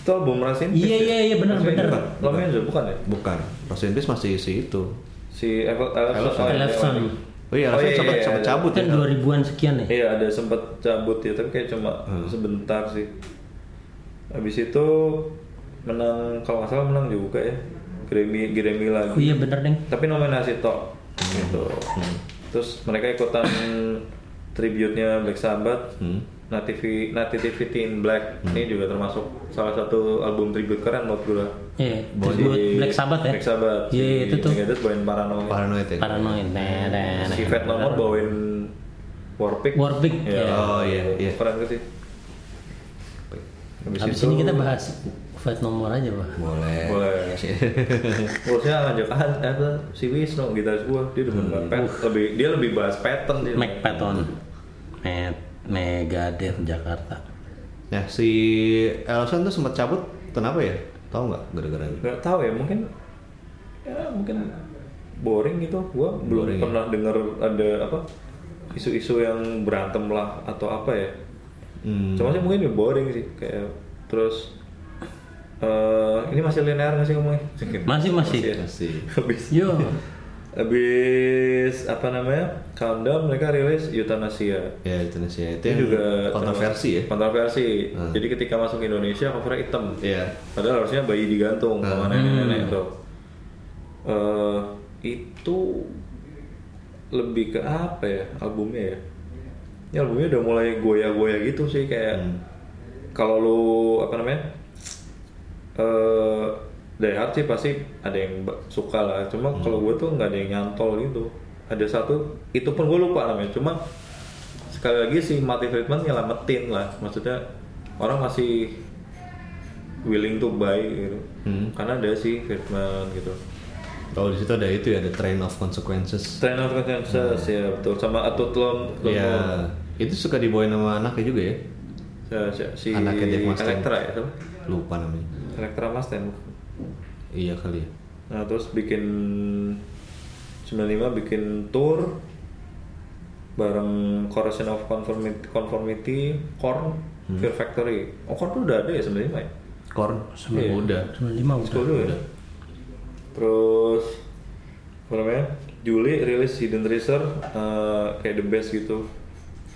Itu album Rasin.
Iya iya iya benar
Rasin
benar.
bukan? Lomenjo bukan ya?
Bukan, Rust in Peace masih si itu.
Si Evel Elefson.
Elefson.
Elefson.
Oh
Oh, iya, iya.
iya,
Oh,
Rust
iya,
sempat
iya,
sempat
iya.
cabut
Itu
ya.
2000-an sekian ya.
Iya ada sempat cabut ya tapi kayak cuma sebentar sih. Habis itu menang kalau nggak salah menang juga ya Grammy Grammy lagi.
Oh iya benar deh.
Tapi nominasi tok gitu. Terus mereka ikutan tribute-nya Black Sabbath. Nativity, Nativity in Black ini juga termasuk salah satu album tribute keren buat gue.
Iya. Buat Black Sabbath ya.
Black Sabbath.
Iya
Si
itu tuh.
Megadeth bawain Paranoid.
Paranoid ya.
Paranoid. Nah, nah, nah.
Si Fat No More bawain Warpick.
Warpick, iya.
Iya.
Oh iya, iya.
Keren gak sih? Habis,
Abis
itu,
ini kita bahas Fat nomor aja pak.
Boleh.
[LAUGHS] Boleh. Harusnya ngajak ah, apa si Wisnu gitaris gua dia demen banget pet, lebih dia lebih bahas pattern dia.
Mac Patton. Met Megadeth Jakarta.
Nah si Elson tuh sempat cabut kenapa ya? Tahu nggak gara-gara itu?
Gak tahu ya mungkin ya mungkin boring gitu. Gua belum
Boring ya?
pernah dengar ada apa isu-isu yang berantem lah atau apa ya.
Hmm.
Cuma sih mungkin ya boring sih kayak terus eh ini masih linear nggak sih ngomongnya?
Masih, masih.
[LAUGHS]
ya?
Masih.
Habis
Yo.
Habis apa namanya? Countdown mereka rilis Eutanasia.
Ya Indonesia itu
Itu
yang
juga
kontroversi ya.
Kontroversi. Jadi ketika masuk ke Indonesia covernya hitam.
Iya.
Padahal harusnya bayi digantung sama nenek-nenek itu. Eh, itu lebih ke apa ya albumnya ya? Ini albumnya udah mulai goyah-goyah gitu sih kayak kalau lu apa namanya? eh Die Hard sih pasti ada yang ba- suka lah. Cuma kalau gue tuh nggak ada yang nyantol gitu. Ada satu, itu pun gue lupa namanya. Cuma sekali lagi si Marty Friedman nyelamatin lah. Maksudnya orang masih willing to buy gitu. Karena ada si Friedman gitu.
Kalau di situ ada itu ya ada train of consequences.
Train of Hmm.
Iya.
Consciences ya betul. Sama Atut Lom.
Ya itu suka dibawain sama anaknya juga ya.
Si, si
Anaknya Dave Mustaine.
Elektra ya, siapa?
lupa namanya
Elektra Mustaine.
iya kali ya
Nah, terus bikin 95 bikin tour bareng Corrosion of Conformity, Conformity Korn, Fear Factory. Oh, Korn tuh udah ada ya 95 ya?
Korn
Iya.
udah
95 udah.
School dulu ya. Terus apa namanya? Juli rilis Hidden Treasure eh, kayak the best gitu.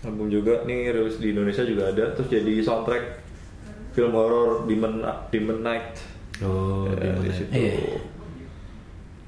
Album juga nih rilis di Indonesia juga ada. Terus jadi soundtrack film horor Demon Demon Night.
oh
Eh,
Demon
di
Knight.
situ.
Iya.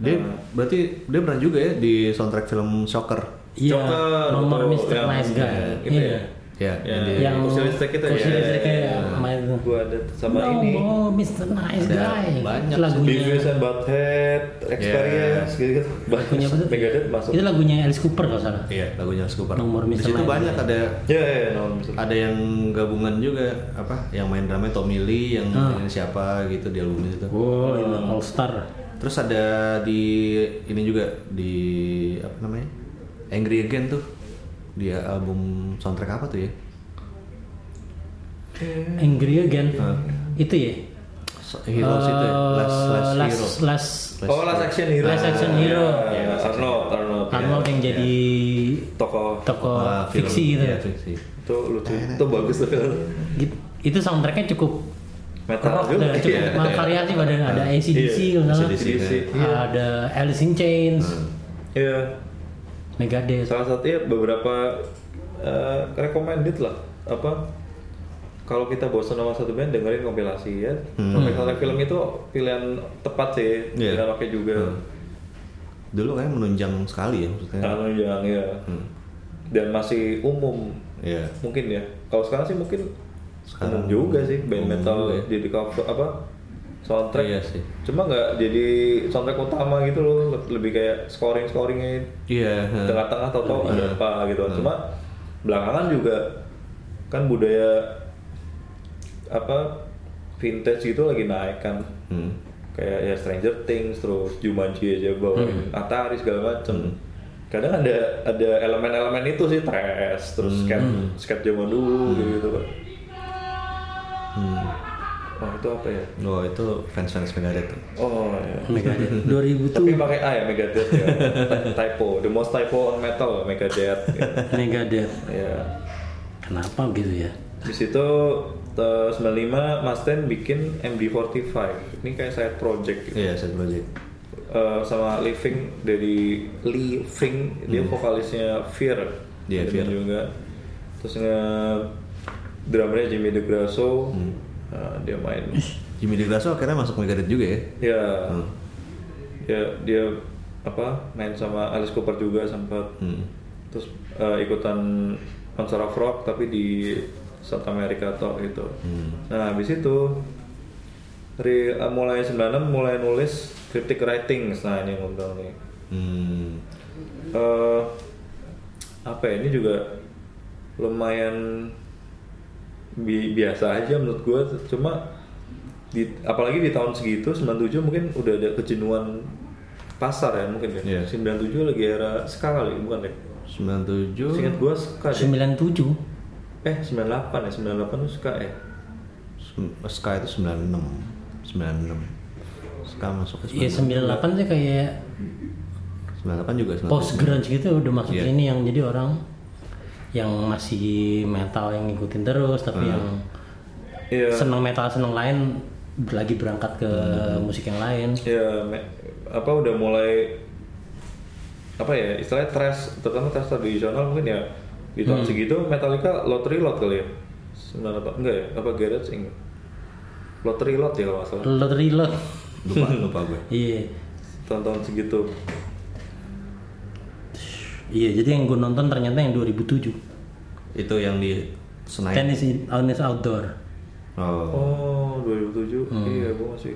dia berarti dia pernah juga ya di soundtrack film Shocker
Iya,
Joker,
nomor
atau
Mr.
yang-
Nice Guy.
itu
Iya.
ya,
Ya.
jadi-
Yang
kursi listrik itu ya?
kursi
Iya,
listrik
iya,
ya, main itu.
Gua ada sama
No
ini.
more Mr. Nice
Ada
Guy.
banyak
Itu lagunya.
Devious and Butthead, Experience, gitu-gitu.
Lagunya Ya. apa
Banyak
tuh?
Megadeth masuk.
Itu lagunya Alice Cooper kalau salah.
iya lagunya Cooper
Nomor
di
Mr.
situ
Knight.
banyak ada
Ya, ya, ya, no, Mr.
ada yang gabungan juga apa yang main drumnya Tommy Lee yang
Ah.
mainin siapa gitu di album itu
Wow,
iya.
All Star.
terus ada di ini juga di apa namanya Angry Again tuh dia album soundtrack apa tuh ya
Angry Again. Itu ya.
So- Heroes itu ya Last,
Eh, last,
last, Hero
last
Oh, Last Action Hero.
Last Action Hero.
Ya, Arnold, Arnold.
Arnold yang jadi
Tokoh
tokoh
Ah, film.
fiksi gitu.
Iya, fiksi.
itu lucu, itu bagus tuh film.
Gitu. Itu soundtracknya cukup
Metal
rock
juga.
dan cukup
Iya.
variasi pada ada ACDC
Iya,
kalau nggak
ACDC,
salah.
iya.
Ada Alice in Chains,
Iya. [LAUGHS]
Megadeth.
Salah satunya beberapa eh, recommended lah apa kalau kita bosan sama satu band dengerin kompilasi ya. Kompilasi film itu pilihan tepat sih,
Iya.
pilihan oke juga.
dulu kayak menunjang sekali ya maksudnya
Kalau yang ya. Dan masih umum
Iya.
mungkin ya. Kalau sekarang sih mungkin
Sekarang
umum juga sih
umum
band metal
juga ya.
jadi cover apa soundtrack.
Iya sih.
Cuma nggak jadi soundtrack utama gitu loh, le- lebih kayak scoring scoringnya
iya heeh. Iya.
tengah-tengah atau tau ada apa gitu.
Hmm.
Cuma belakangan juga kan budaya apa vintage gitu lagi naik kan.
Hmm.
Kayak ya Stranger Things terus Jumanji aja bawain
Hmm.
Atari segala macem. Kadang ada ada elemen-elemen itu sih trash terus skate skate zaman dulu gitu, gitu kan.
Hmm.
Wah itu apa ya?
Oh itu fans-fans Megadeth tuh.
Oh ya.
Hmm.
Megadeth. 2000 tuh
Tapi pakai A ya Megadeth
[LAUGHS]
ya. typo, the most typo on metal Megadeth.
[LAUGHS]
gitu.
Megadeth.
Ya.
Kenapa gitu ya?
Di situ eh, 95 Mustang bikin MD45. Ini kayak side project gitu.
Iya, side project.
Eh, sama Living dari Living dia vokalisnya Fear.
Hmm. Iya,
Dia
Fear.
juga. Terus nge drummernya Jimmy DeGrasso.
Hmm.
Eh, dia main.
Jimmy DeGrasso akhirnya masuk Megadeth juga ya.
ya.
Hmm.
Ya dia apa main sama Alice Cooper juga sempat.
Hmm.
Terus eh, ikutan konser of rock tapi di South America atau gitu.
Hmm.
Nah, habis itu ri- eh, mulai 96 mulai nulis cryptic writings. Nah, ini yang gue bilang nih.
Hmm.
Eh, apa ya, ini juga lumayan bi- biasa aja menurut gue cuma di, apalagi di tahun segitu 97 mungkin udah ada kejenuhan pasar ya mungkin ya
Iya.
97 lagi era skala lagi bukan deh
97
Seingat gua suka deh.
97.
Eh 98 ya, 98 tuh suka ya.
Sem- Ska itu 96. 96. Ska masuk ke
Ya 98 sih
98.
kayak
98 juga 97.
post grunge gitu udah masuk
Iya.
sini yang jadi orang yang masih metal yang ngikutin terus tapi yang
Iya.
seneng metal seneng lain lagi berangkat ke musik yang lain.
Iya, me- apa udah mulai apa ya istilahnya trash terutama trash tradisional mungkin ya di
Hmm.
tahun segitu Metallica lottery lot kali ya 98 enggak ya apa Garage Inc lottery lot ya kalau nggak salah
Lot reload.
Lupa, lupa gue.
Iya.
tahun-tahun segitu
Iya, jadi yang gue nonton ternyata yang 2007.
Itu yang di Senayan.
Tennis in, Tennis outdoor.
Oh.
oh 2007
Hmm.
iya gua masih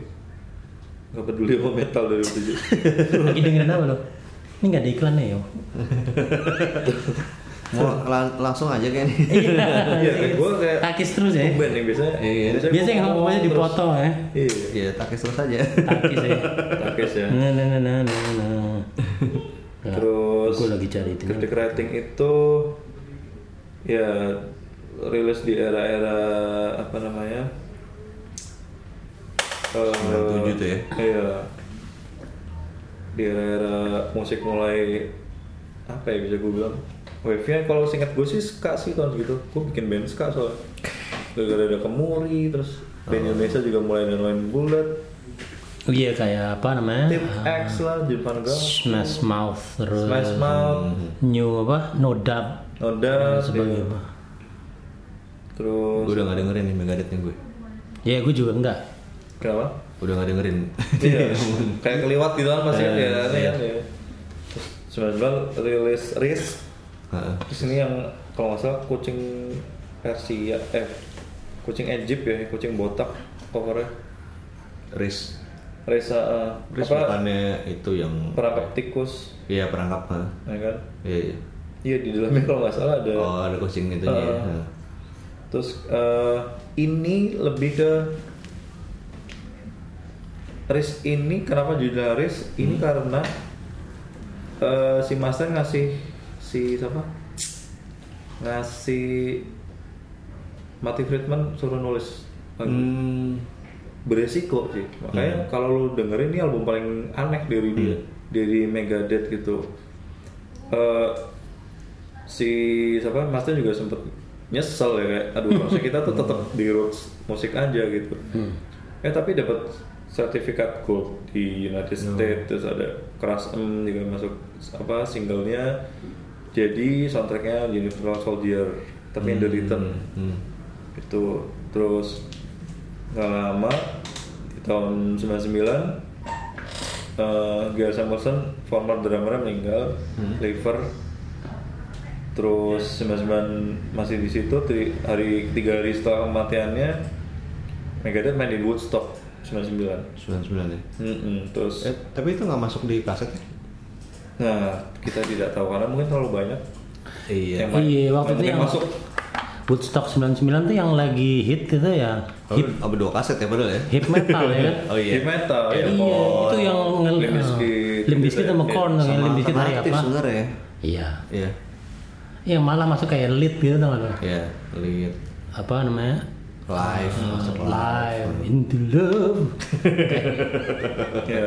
nggak peduli sama metal
[LAUGHS]
2007
Lagi dengerin apa lo? Ini nggak ada iklannya ya?
Mau lang- langsung aja kayaknya.
[LAUGHS] iya kayak gua kayak
Takis terus ya.
tumben nih biasanya
Iya.
Biasanya yang
ngomong
ngomongnya
terus.
dipoto ya.
iya
ya, takis terus aja.
Takis
[LAUGHS]
ya.
Takes ya
Nah, nah, nah, nah, nah, nah.
Terus
gue lagi cari itu.
Critic writing itu ya rilis di era-era apa namanya? Eh,
97 tuh ya?
Iya. Di era-era musik mulai apa ya bisa gue bilang? Wave-nya kalau singkat gue sih ska sih tahun gitu. Gue bikin band ska soalnya. Gara-gara ada Kemuri, terus band Indonesia juga mulai ada main bulat.
Iya kayak apa namanya?
Tip
Ah,
X lah, Jepang Girl,
Smash Mouth terus
Smash Mouth,
Hmm. New apa? No Doubt
Noda,
dan sebagainya.
terus
Gue udah gak dengerin nih Megadethnya gue.
Ya gue juga enggak.
[LAUGHS]
kenapa?
Udah gak dengerin.
Iya, kayak keliwat gitu kan masih
Iya,
ya, ya. Sebenarnya rilis risk
[LAUGHS] Heeh.
terus ini yang kalau nggak salah kucing Persia eh kucing Egypt ya kucing botak covernya
Riz.
Reza eh,
Riz
apa
bukannya itu yang...
perangkap tikus
Iya perangkap. heeh.
ya kan
Iya, iya.
iya di dalamnya kalau nggak salah ada
Oh ada kucing itu
Eh,
ya. Heeh.
terus eh, ini lebih ke Riz ini kenapa judulnya Riz
Hmm.
ini karena eh, si Master ngasih si siapa ngasih Mati Friedman suruh nulis lagu.
Hmm.
beresiko sih makanya kalau lu dengerin ini album paling aneh dari dia dari Megadeth gitu Eh, si siapa Master juga sempet nyesel ya kayak aduh maksudnya kita tuh tetap di roots musik aja gitu eh tapi dapat sertifikat gold di United States terus ada Crash M juga masuk apa singlenya jadi soundtracknya Universal Soldier tapi yang The Return
Hmm.
itu terus nggak lama di tahun 99 eh Gary Samuelson former drummer meninggal
Hmm.
liver terus 99 masih di situ tri- hari tiga hari setelah kematiannya Megadeth main di Woodstock 99
99 ya.
Mm-mm, terus
Eh, tapi itu nggak masuk di kaset ya?
nah kita tidak tahu karena mungkin terlalu banyak
Iya.
yang main.
Iya, waktu itu
mungkin
yang-
masuk
Woodstock 99 tuh yang lagi hit itu ya.
Oh,
Hip,
apa dua kaset ya padahal ya?
hip metal ya
[LAUGHS]
kan?
Oh
heavy
iya.
metal ya,
Iya, itu yang ngel-
Limp Bizkit,
Limp Bizkit sama
Iya.
Korn kan
Sama
Limp Bizkit hari
alternatif
apa?
sebenarnya ya.
Iya.
Iya.
Yang malah masuk kayak lead gitu tau nggak lo?
Iya. Lihat
Apa namanya?
live masuk live.
Live into love.
Iya.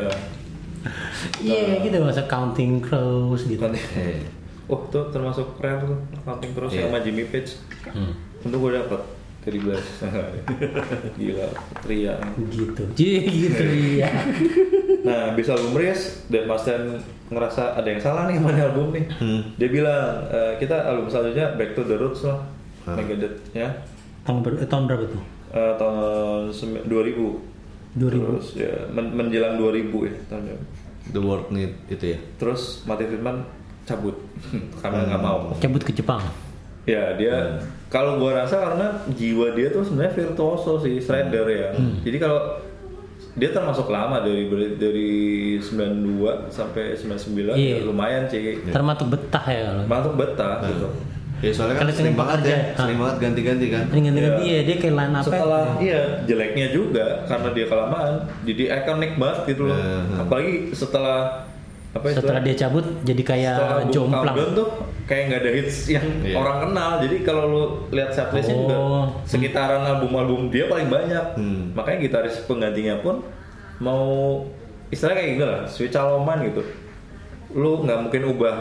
Iya kayak gitu masa Counting Crows gitu.
Eh,
Oh itu termasuk rare tuh Counting Crows
Iya.
sama Jimmy Page
Hmm.
Untung gue dapet dari belas Gila, teriak
Gitu. Jadi gitu ya.
Nah, bisa album rilis dan Mas Dan ngerasa ada yang salah nih sama ini album nih Dia bilang, e, kita album selanjutnya Back to the Roots lah Megadeth ya
Tahun, ber- eh, tahun berapa tuh?
E, Tahun sem- 2000
2000.
Terus ya, men- menjelang 2000 ya tahunnya.
The world need itu ya.
Terus Mati Friedman cabut [LAUGHS] karena nggak mau
Cabut ke Jepang.
Ya
Hmm.
dia kalau gua rasa karena jiwa dia tuh sebenarnya virtuoso sih shredder ya.
Hmm.
Jadi kalau dia termasuk lama dari dari 92 sampai
Iya. Hmm.
99 ya lumayan sih.
Termasuk betah ya kalau.
Masuk betah gitu.
Ya soalnya kan
Karena
sering
sering
banget ya,
bekerja.
sering banget ganti-ganti kan.
Dengan dengan
Iya.
dia dia kayak line up
Setelah iya jeleknya juga karena dia kelamaan jadi ikonik banget gitu loh.
Hmm.
Apalagi setelah apa itu?
setelah dia cabut jadi kayak
setelah Book Countdown
jomplang.
tuh kayak nggak ada hits yang
Iya.
orang kenal jadi kalau lu lihat setlistnya juga
Oh.
sekitaran album-album dia paling banyak
Hmm.
makanya gitaris penggantinya pun mau istilahnya kayak gini lah switch caloman gitu lu nggak mungkin ubah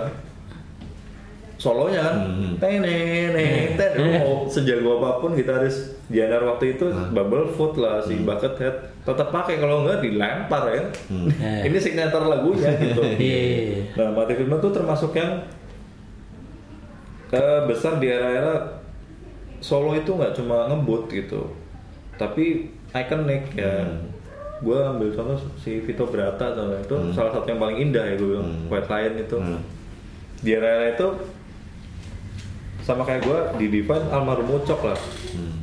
solonya kan
Hmm.
teneng teneng ten
Hmm.
lu mau sejago apapun gitaris Dianar waktu itu
Hmm.
bubble foot lah si buckethead tetap pakai kalau nggak dilempar ya
Hmm.
Eh.
ini signature lagunya gitu
Iya.
Nah, Mati Friedman tuh termasuk yang eh, besar di era-era solo itu nggak cuma ngebut gitu, tapi iconic ya. Gue ambil contoh si Vito Brata sama itu salah satu yang paling indah ya gue bilang White Lion itu.
Hmm.
Di era-era itu sama kayak gue di Divine almarhum Ucok lah.
hmm.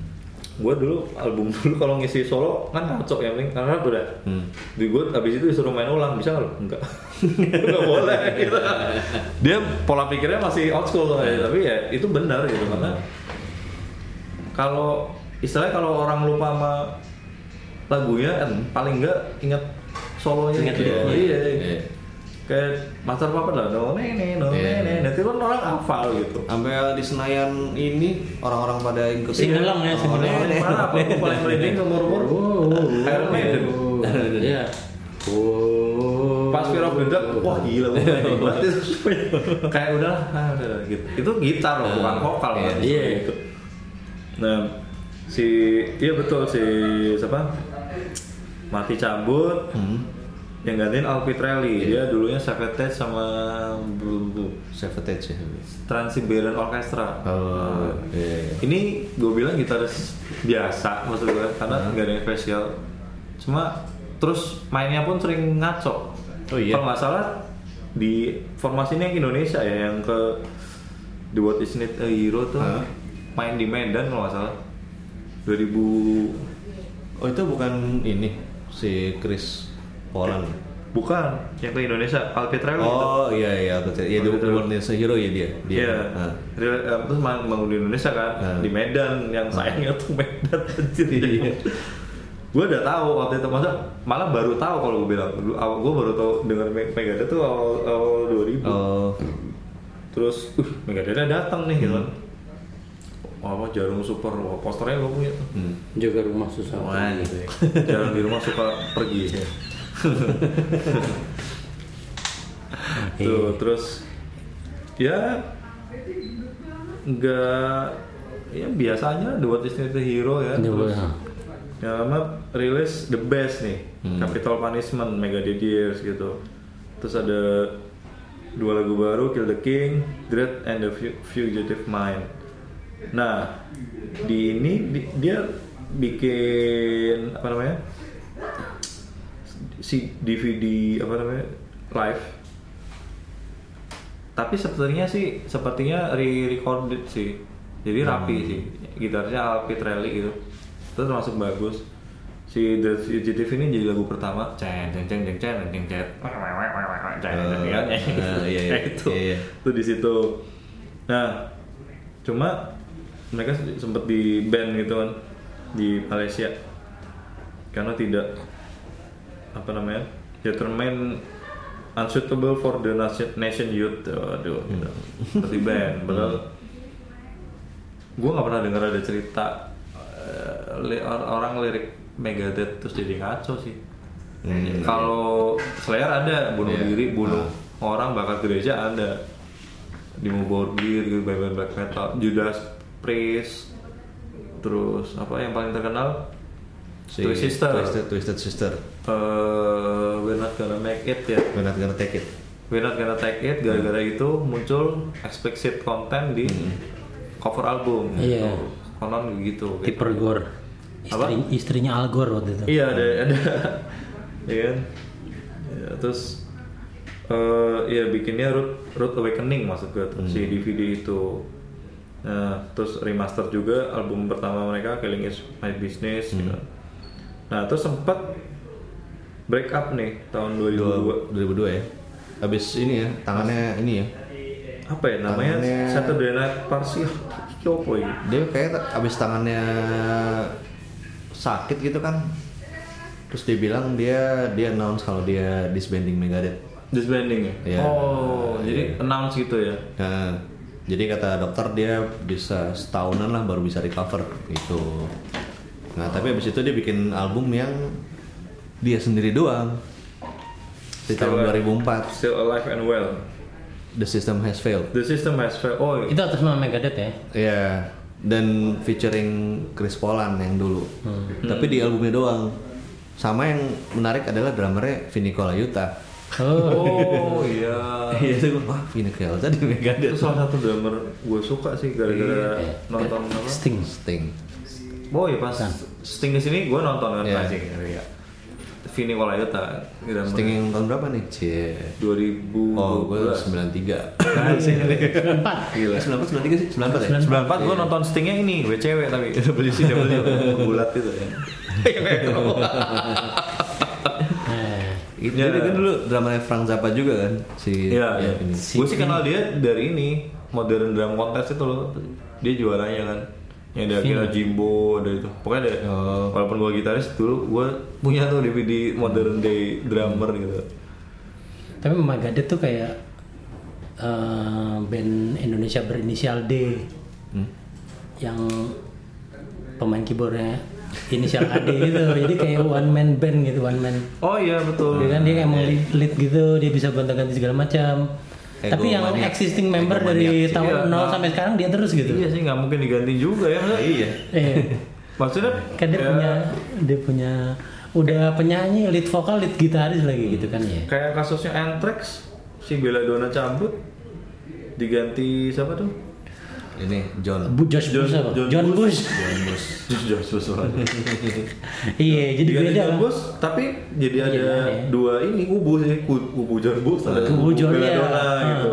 Gue dulu album [LAUGHS] dulu kalau ngisi solo kan Ucok yang penting karena udah
Hmm.
di gue abis itu disuruh main ulang bisa nggak [LAUGHS] lo? Enggak, nggak boleh. Gitu. Dia pola pikirnya masih old school soalnya, tapi ya itu benar gitu karena kalau istilahnya kalau orang lupa sama lagunya, eh, paling enggak ingat solonya.
Ingat
gitu.
lirik.
Iya.
Iya.
kayak Master Puppet lah, no nene, no
Iya.
nene, nanti lo orang hafal gitu.
Sampai di Senayan ini orang-orang pada ikut
Singelong ya, singelong.
orang-orang-
Parah, apa aku paling merinding seumur umur
Oh,
Iron Maiden.
Iya.
Oh.
Pas Fear of the Dark, wah
[LAUGHS]
gila, gue
Iya.
merinding banget. kayak udah, ah, udah, udah, gitu. Itu gitar loh, bukan vokal
Iya,
kan.
iya.
Gitu. Nah, si, iya betul si siapa? Mati cabut,
Hmm.
yang gantiin Al Pitrelli.
Iya.
Dia dulunya Savatage sama
Sabotage ya.
Trans-Siberian Orchestra. Nah,
Oh, iya. iya.
ini gue bilang gitaris biasa maksud gue karena nggak ada yang spesial cuma terus mainnya pun sering ngaco
Oh, iya.
kalau nggak salah di formasinya yang Indonesia ya yang ke The What Is It a Hero tuh
Hah?
main di Medan kalau nggak salah 2000
Oh itu bukan ini si Chris Polan.
bukan yang ke Indonesia gitu. Alpitrel
Oh iya iya aku cek. Iya dia bukan Indonesia Hero ya dia. Dia.
Iya,
Ah.
Real- eh, terus mang- bangun di Indonesia kan,
Ah.
di Medan yang sayangnya tuh Medan anjir.
Iya.
gue udah tahu waktu itu masa malah baru tahu kalau gue bilang gue baru tahu dengar Meg- Megadeth tuh awal, awal 2000
Oh
terus uh Megadethnya datang nih gitu kan
Hmm.
Wah, apa jarum super wah, posternya gue punya tuh.
Jaga rumah susah. gitu ya.
jarum di rumah suka pergi
Iya.
Iya.
tuh terus ya nggak ya biasanya The What Is Not a Hero ya
Ini
terus
boleh.
yang lama rilis The Best nih Capital Punishment Mega Years gitu terus ada dua lagu baru Kill the King Dread and the Fu- Fugitive Mind nah di ini di- dia bikin apa namanya si DVD apa namanya live tapi sepertinya sih sepertinya re-recorded sih jadi
Hmm.
rapi sih gitarnya Al Pitrelli gitu itu termasuk bagus si The Fugitive ini jadi lagu pertama ceng ceng ceng ceng ceng ceng ceng
iya, iya, iya.
[LAUGHS] itu
Iya, iya.
itu di situ nah cuma mereka sempat di band gitu kan di Malaysia karena tidak apa namanya determine unsuitable for the nation, nation youth aduh gitu. seperti band padahal gue nggak pernah dengar ada cerita eh, li- or- orang lirik Megadeth terus jadi ngaco sih kalau Slayer ada bunuh
Iya.
diri bunuh orang bakar gereja ada di Mobile Gear gitu band black metal Judas Priest terus apa yang paling terkenal
si
Twisted Sister.
Twisted, Twisted Sister.
eh we're not gonna make it ya
We're not gonna take it.
we're not gonna take it gara-gara itu muncul explicit content di
Hmm.
cover album
Iya.
gitu. konon gitu gitu.
Piper Gore. Istri, istrinya Al Gore waktu itu.
Iya ada ada, [LAUGHS] iya kan. Ya, terus eh ya bikinnya root root awakening maksud gue tuh, si DVD itu. Nah, terus remaster juga album pertama mereka Killing Is My Business. gitu. Nah terus sempat break up nih tahun 2002
2002 ya. Habis ini ya, tangannya ini ya.
apa ya namanya
Tangannya-
Saturday Night Party Iki apa ini?
Dia kayak ta- habis tangannya sakit gitu kan. Terus dia bilang dia dia announce kalau dia disbanding Megadeth.
Disbanding ya?
Iya.
Oh, jadi announce gitu ya?
Nah, jadi kata dokter dia bisa setahunan lah baru bisa recover gitu. Nah, tapi abis itu dia bikin album yang dia sendiri doang. Di tahun 2004,
Still Alive and Well.
The System Has Failed.
The System Has Failed. Oh,
Itu atas nama Megadeth ya.
Ya, dan featuring Chris Polan yang dulu. Tapi di albumnya doang. Sama yang menarik adalah drummernya Vinny Colaiuta.
Oh.
Oh
[LAUGHS]
iya.
Iya, itu gua, wah Vinny Colaiuta di
Itu
Megadeth.
salah satu drummer gue suka
Eh,
sih gara-gara
Iya.
nonton apa?
Sting.
Sting.
Oh iya pas Sting di sini gue nonton kan
Nah. Iya.
anjing iya. Vini Kolaiuta drummer
Sting Oh, yang tahun berapa nih? Cie.
2000.
Oh, gue 93.
Empat.
Gila. 94, 93 Eh, sih? 94 ya?
94 gue nonton Stingnya ini WCW tapi [LAUGHS]
[LAUGHS]
WCW bulat itu ya.
Iya, gitu.
Nah,
Itu
Iya.
dia kan dulu dramanya Frank Zappa juga kan si
Iya.
ya, ini.
Gue sih kenal dia dari ini Modern Drum Contest itu loh. Dia juaranya kan. Yang ada Akira Jimbo, ada itu. Pokoknya ada.
Oh.
Walaupun gue gitaris dulu, gue punya tuh DVD Modern Day Drummer gitu.
Tapi Megadeth tuh kayak eh, band Indonesia berinisial D Hmm? yang pemain keyboardnya inisial AD gitu. Jadi kayak one man band gitu, one man.
Oh iya betul.
Dia kan dia kayak emang lead, lead gitu, dia bisa gonta-ganti segala macam.
Ego
Tapi yang
maniak.
existing
Ego
member dari
maniak sih.
tahun 0
Iya, nah.
sampai sekarang dia terus gitu.
Iya sih nggak mungkin diganti juga ya. Maksudnya,
iya
[LAUGHS] Iya.
Maksudnya
kan dia
ya,
punya dia punya udah penyanyi lead vokal lead gitaris lagi gitu kan ya
kayak kasusnya Anthrax si Bella Donna cabut diganti siapa tuh?
ini John
Bu, Josh
John-
Bush apa?
John
John Bush, [LAUGHS]
John Bush
Eh. Josh Bush.
iya jadi
diganti
beda
John
kan
Bush, tapi jadi ada
Iya, iya.
dua ini kubu sih, ku- kubu John Bush ada
Kubu John,
Bella
iya.
Donna
Ah.
gitu.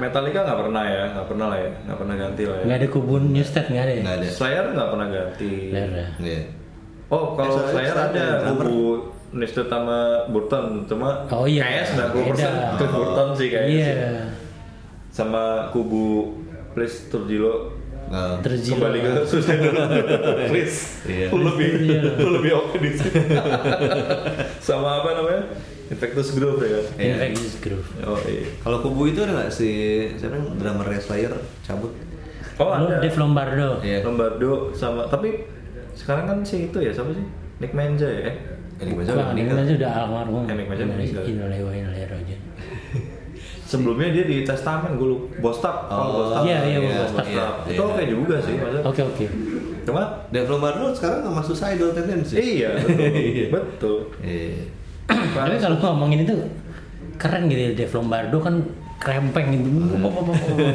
Metallica nggak pernah ya, nggak pernah lah ya, nggak pernah ganti lah ya.
nggak ada kubun Newstead nggak ada ya
nggak ada
Slayer nggak pernah ganti.
Bener ya.
Iya.
Oh, kalau
Eh,
Slayer
Slayer
ada
ada drummer.
kubu Nestor sama Burton, cuma
Oh, iya.
kayaknya 90% ke
Beda.
Burton sih kayaknya.
iya
sih. Sama kubu Please Turjilo
Eh,
terus
kembali ke Susan
[LAUGHS]
dulu. Please.
Iya.
Lu lebih
Turjilo.
lu lebih oke di sini. sama apa namanya? Infectus Groove ya. kan?
Iya.
Infectious Groove
Oh iya.
kalau kubu itu ada nggak si siapa yang drummer Slayer cabut
Oh
lu
ada.
Dave Lombardo
iya
Lombardo sama tapi sekarang kan si itu ya siapa sih? Nick Menza ya. eh?
Eric Meza udah
Wah, dia
meninggal
kan sudah almarhum
Enak aja
Innalillahi
meninggal.
wa inna ilaihi raji'un.
Sebelumnya dia di testamen gue lupa Bostap. kalau
Oh,
Bostap.
iya, iya,
Bostap.
Bostap.
Iya,
Itu
iya.
oke juga sih maksudnya.
oke oke
Cuma
Dave Lombardo sekarang nggak masuk idol tendensi [LAUGHS]
iya betul. betul.
Iya.
tapi kalau ngomongin itu keren gitu ya Dave Lombardo kan
[LAUGHS]
krempeng gitu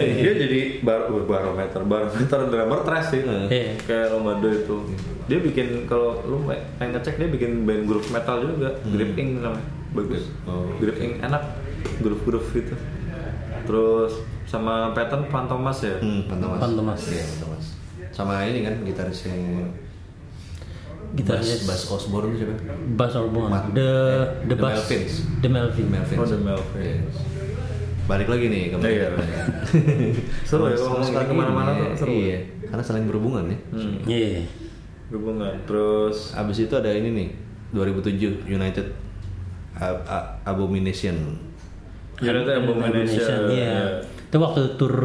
iya.
dia jadi bar barometer barometer [LAUGHS] drummer trash sih
Iya.
kayak Lombardo itu dia bikin kalau lu pe- pengen ngecek dia bikin band groove metal juga grip ing namanya bagus
Oh,
grip ing enak groove groove gitu terus sama pattern Fantomas ya
hmm, Pantomas
Pantomas.
iya Pantomas sama ini kan gitarisnya
Gitarisnya-
Bas, Bas Osborne itu siapa
Buzz Osborne,
Mat-
the the
The
Buzz,
Melvins.
the Melvin.
Melvin
Oh, The Melvins.
Iya. balik lagi nih ke
Iya. [LAUGHS] Seru ya, kalau ngomongin
sekarang
kemana-mana
ini,
tuh seru. ya. Hmm.
iya karena saling berhubungan ya
Iya.
hubungan terus
abis itu ada ini nih 2007 United Ab- A- Abomination
United Abomination
Iya.
ya
Itu waktu tur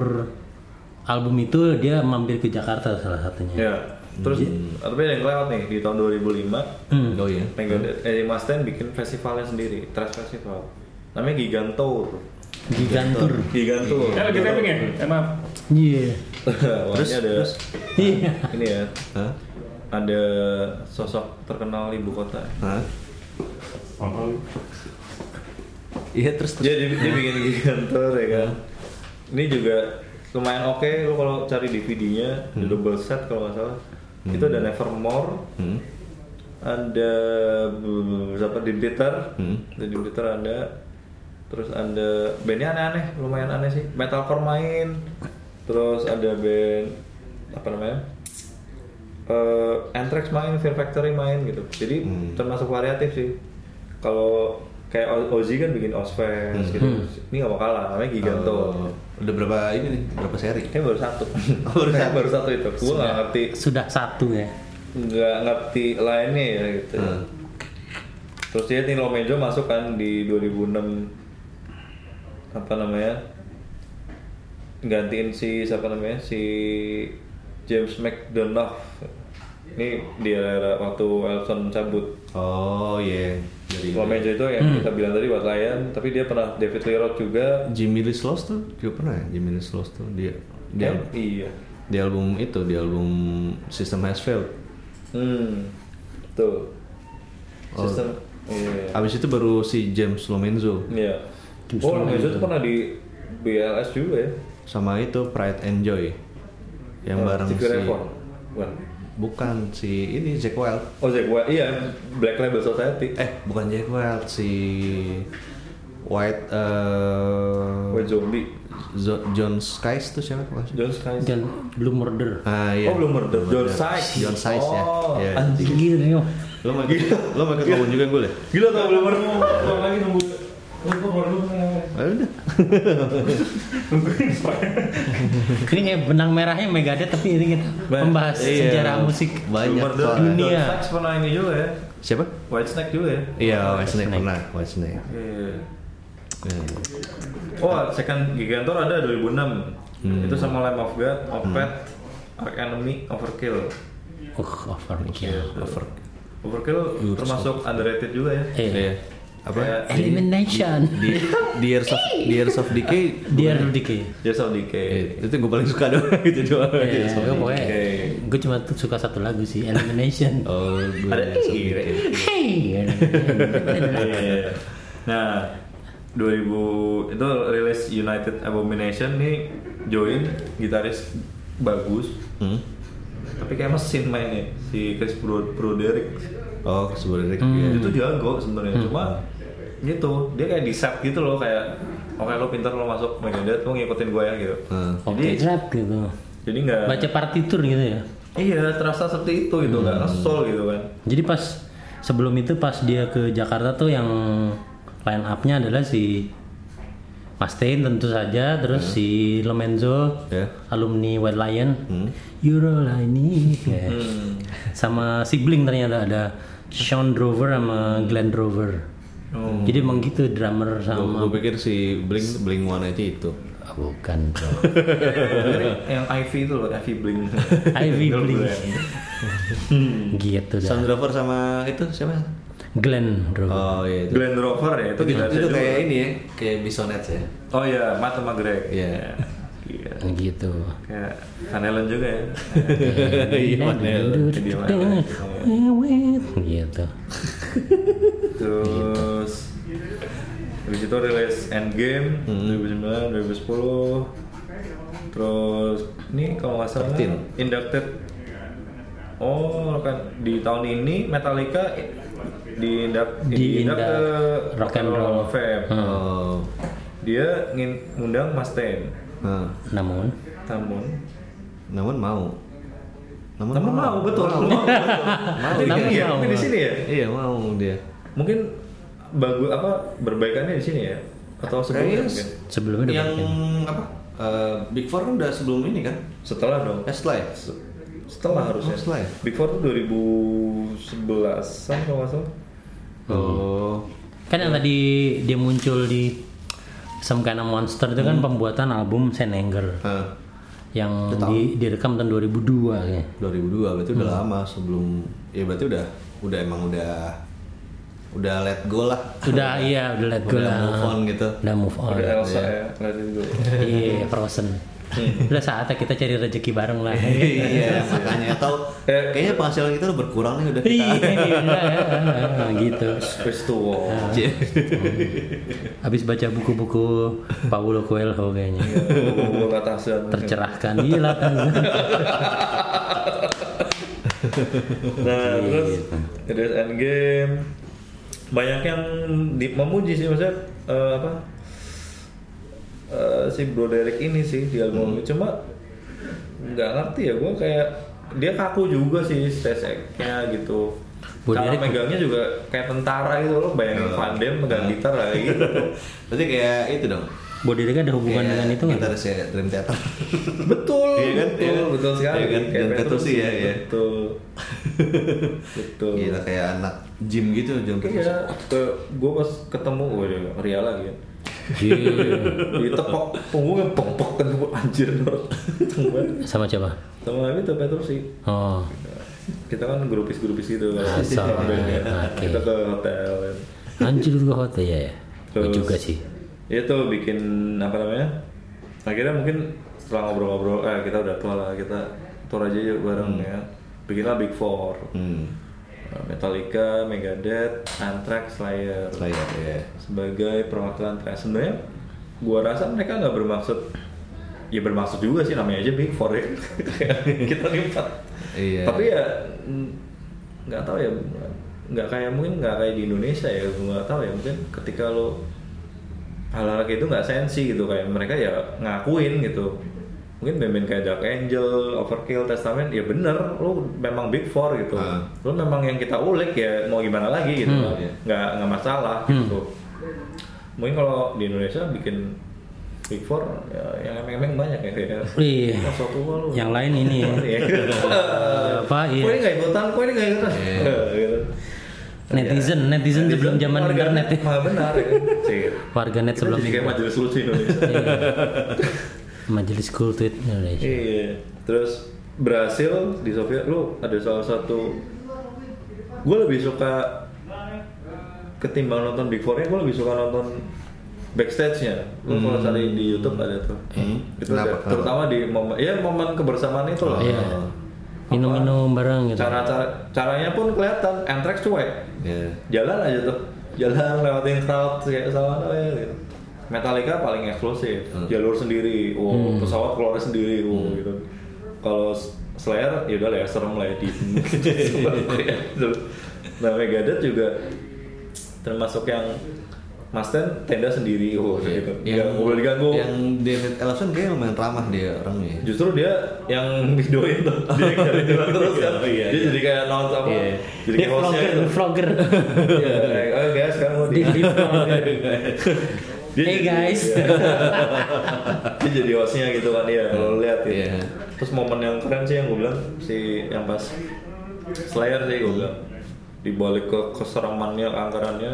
album itu dia mampir ke Jakarta salah satunya.
Ya. terus tapi yang lewat nih di tahun 2005
Hmm.
oh iya
Megadeth, eh, Mas Ten bikin festivalnya sendiri, Trash Festival. Namanya Gigantour.
Gigantur.
Gigantour.
Eh, lagi tapping ya? Eh, maaf.
Iya.
terus ada
Iya.
ini ya.
Hah?
Ada sosok terkenal ibu kota.
Hah? Iya terus terus.
Jadi dia bikin Gigantour ya kan. Ini juga lumayan oke lu kalau cari DVD-nya, di double set kalau nggak salah. Itu ada Nevermore,
Hmm.
ada bu- siapa di Bitter,
Hmm.
di Bitter ada terus ada bandnya aneh-aneh lumayan aneh sih metalcore main terus ada band apa namanya Eh, Anthrax main Fear Factory main gitu jadi
Hmm.
termasuk variatif sih kalau kayak O- Ozzy kan bikin Ozfest gitu ini nggak mau kalah namanya Giganto
Hmm. Oh, udah berapa ini nih? Berapa seri?
Kayaknya baru satu
Oh, [LAUGHS] baru
Kayaknya
satu.
baru satu itu gue nggak ngerti
Sudah satu ya.
nggak ngerti lainnya ya gitu
Hmm.
Terus dia Nilo Mejo masuk kan di 2006 apa namanya? Gantiin si siapa namanya? Si James McDonough. Ini di era waktu Elson cabut.
Oh iya. Dari
Nilo Mejo itu yang
Hmm.
kita bilang tadi buat Lion, tapi dia pernah David Lee Roth juga.
Jimmy Lee Sloss tuh juga pernah ya? Jimmy Lee Sloss tuh dia di,
Dia
al-
iya.
di album itu di album System Has Failed.
Hmm. Tuh.
Oh.
Sistem iya.
Abis itu baru si James Lomenzo
Iya.
James
Oh, Lomenzo
gitu.
tuh pernah di BLS juga ya.
sama itu Pride and Joy yang
Oh,
bareng si
Sigur Revon. Bukan.
bukan si ini Jack Wild.
Oh Zack Wild, iya Black Label Society.
Eh bukan Jack Wild si White eh,
White Zombie,
Zo- John Skies tuh siapa?
John Skies.
Dan Blue Murder.
Ah, iya.
Oh belum murder, John Skies.
John Skies ya.
Oh,
Iya.
Anjing gila nih. Om.
Lo mau ikut, lo mau ikut ngomong juga gue deh.
Gila tau belum murder. lagi nunggu. Ah,
Ayo udah.
Ini kayak benang merahnya Megadeth tapi ini kita
Ba-
membahas
iya.
sejarah musik.
Banyak
Belum murder.
soalnya.
John
Dunia.
Skies pernah ini juga ya.
Siapa?
White Snake juga ya.
Iya, White Snake pernah, White Snake.
Iya. Oh, second Gigantor ada 2006.
Hmm.
Itu sama Lamb of God, Opet, Ark Enemy, Overkill. Iya.
Uh, overkill.
Over- Overkill termasuk underrated juga ya.
Eh,
Iya. Apa?
Elimination.
Di, di Years of di Years of Decay
Dear Diki.
Jazz of
Eh,
Decay.
itu gue paling suka doang [LAUGHS] itu doang.
Ya,
Years of
gue pokoknya
Decay.
gue cuma tuh suka satu lagu sih, Elimination.
Oh, gue
Ada
Years of
eh,
Decay.
Hey,
Iya, iya, iya. [LAUGHS] Nah, 2000 itu rilis United Abomination nih join gitaris bagus
Hmm?
tapi kayak mesin mainnya si Chris Bro Broderick
Oh, sebenarnya
itu jago sebenarnya cuma gitu dia kayak di set gitu loh kayak oke lo pintar lo masuk Megadeth lo ngikutin gue ya gitu
Hmm.
Oke, rap gitu.
jadi nggak
Baca partitur gitu ya.
iya terasa seperti itu gitu nggak ngesol gitu kan
Jadi pas sebelum itu pas dia ke Jakarta tuh yang line up-nya adalah si Mustaine tentu saja, terus si Lomenzo,
Ya.
alumni White Lion, Euro I Need, ya. sama sibling ternyata ada Sean Drover sama Glenn Drover. Jadi emang gitu drummer sama
Gue pikir si Blink Blink 180 itu.
Ah, bukan bro.
yang IV itu loh IV Blink
[LAUGHS] Ivy
Bener,
Blink.
bener.
gitu dah.
Sound Driver sama itu siapa?
Glenn Drover.
Oh iya itu.
Glenn Rover ya itu
itu,
gitarisnya
itu
juga.
kayak ini ya, kayak Bisonets ya.
oh iya Matt sama Greg
Iya.
Iya.
Gitu. [LAUGHS]
kayak Van Halen juga ya
Iya,
Dia main.
gitu.
terus habis itu rilis Endgame
Hmm.
2009 2010 terus ini kalau nggak salah
13.
Inducted oh kan di tahun ini Metallica di induct diinduct
Diinduct
ke
Rock and Roll. Hmm.
Hall of Fame
Oh.
dia ngin- ngundang Mustaine
Nah,
Namun
namun
namun mau. Namun,
Namun mau, betul.
Mau.
Mau,
Mau,
Jadi
Namun
kayak
dia.
ya,
mau.
mungkin di sini ya.
Iya, mau dia.
Mungkin bagus apa perbaikannya di sini ya atau sebelumnya
Kayaknya
mungkin?
sebelumnya udah
yang
bikin.
apa? eh, Big Four kan udah sebelum ini kan?
Setelah dong.
Eh, setelah ya?
Setelah harusnya.
setelah ya?
Big Four tuh 2011-an kalau nggak salah.
Oh.
kan yang tadi dia muncul di Some Kind of Monster itu kan pembuatan album Saint Anger
Hah,
yang di, direkam tahun 2002 kayaknya.
2002 berarti udah lama sebelum ya berarti udah udah emang udah udah let go lah.
Udah iya udah let go
Udah
lah.
move on gitu.
Udah move on.
Ada Elsa ya, lihat itu.
Iya, frozen. Udah saatnya kita cari rezeki bareng lah. [LAUGHS]
iya, makanya atau kayaknya penghasilan kita udah berkurang nih udah kita.
Iya, iya, [LAUGHS] gitu.
Space to Wall.
Habis baca buku-buku Paulo Coelho kayaknya.
Iya. Buku atasan.
Tercerahkan gila kan.
Iya,
Nah, terus terus Endgame banyak yang di- memuji sih maksudnya eh, apa eh, si Bro Derek ini sih di
Hmm.
album ini. cuma nggak ngerti ya gue kayak dia kaku juga sih staseknya gitu
Bro
cara
Derek-
megangnya juga kayak tentara gitu loh bayangin
Oh.
Van Damme
Ah.
megang gitar kayak
[LAUGHS]
gitu
Berarti kayak itu dong.
Bodega kan ada
Iya,
hubungan dengan itu
nggak?
nggak?
Kita harus ya Dream Theater.
betul
Iya kan?
betul
Iya kan?
betul sekali
Iya kan?
Kayak
Jangan
Petrus
Petrucci
sih,
ya, iya. [LAUGHS]
betul betul
Gila kayak anak gym gitu jam
Iya, ke gue pas ketemu gue Ria lagi kan.
Iya.
Ditepok punggungnya pok pok kan gue anjir Nor. Kenceng banget.
Sama siapa?
Sama itu Petrus sih.
Oh,
Kita kan grupis-grupis gitu kan.
Asal.
Bandnya.
Oke.
Kita ke hotel. kan.
anjir ke hotel ya ya. Gua
Terus-
juga sih.
Ya, Itu bikin apa namanya? Akhirnya mungkin setelah ngobrol-ngobrol, eh kita udah tua lah, kita tour aja yuk bareng ya. Bikinlah Big Four.
Hmm.
Metallica, Megadeth, Anthrax, Slayer.
Layar ya.
sebagai perwakilan trans sebenarnya gua rasa mereka nggak bermaksud ya bermaksud juga sih namanya aja big four ya [LAUGHS] kita lipat
Iya.
tapi ya mm, nggak tahu ya nggak kayak mungkin nggak kayak di Indonesia ya gua nggak tahu ya mungkin ketika lo hal-hal kayak itu nggak sensi gitu kayak mereka ya ngakuin gitu mungkin band-band kayak Dark Angel, Overkill, Testament ya bener lo memang big four gitu
Ah.
lo memang yang kita ulik ya mau gimana lagi gitu
Hmm.
nggak nggak masalah gitu mungkin kalau di Indonesia bikin big four ya, yang emeng-emeng banyak ya kayak
Iya.
"Oh, satu mah lu
Yang lain ini ya.
[LAUGHS] Iya.
Apa
Kok ini
iya?
nggak ikutan kok ini nggak ikutan [LAUGHS] gitu.
Netizen, netizen sebelum zaman
warga
internet ya.
Malah benar
[LAUGHS]
ya. Cik.
Warganet
Kita
sebelum
jadi kayak
internet.
majelis lucu
[LAUGHS]
Indonesia.
Iya. Majelis Kultuit Indonesia.
Iya. Terus Brasil di Sofia lu ada salah satu gue lebih suka ketimbang nonton Big Four-nya gue lebih suka nonton backstage-nya. Lu kalau cari di YouTube ada tuh. Itu
Kenapa?
ada. terutama di momen ya momen kebersamaan itu
Oh,
loh.
Iya. Minum-minum bareng gitu.
Cara-cara caranya pun kelihatan Anthrax cuek.
Ya.
jalan aja tuh jalan lewatin crowd kayak sama aja gitu Metallica paling eksklusif jalur sendiri wow pesawat keluar sendiri wow gitu kalau S- Slayer ya udah lah ya serem lah ya [LAUGHS] di nah Megadeth juga termasuk yang Masten tenda sendiri wow gitu nggak boleh diganggu
Iya. Yang David Ellison kayaknya lumayan ramah dia orangnya. ya.
justru dia yang [LAUGHS] videoin tuh dia yang jalan terus [LAUGHS] kan dia jadi kayak non apa jadi
Dia
kayak hostnya
Iya, vlogger,
[LAUGHS] gitu.
vlogger.
[LAUGHS] Iya, kayak, oh guys sekarang mau di
Dia di
[LAUGHS]
vlog. ya."
Dia
Hey
jadi-
guys.
Iya. dia jadi hostnya gitu kan ya kalau lu lihat gitu
Iya.
terus momen yang keren sih yang gue bilang si yang pas Slayer sih gue bilang dibalik ke keseramannya keangkerannya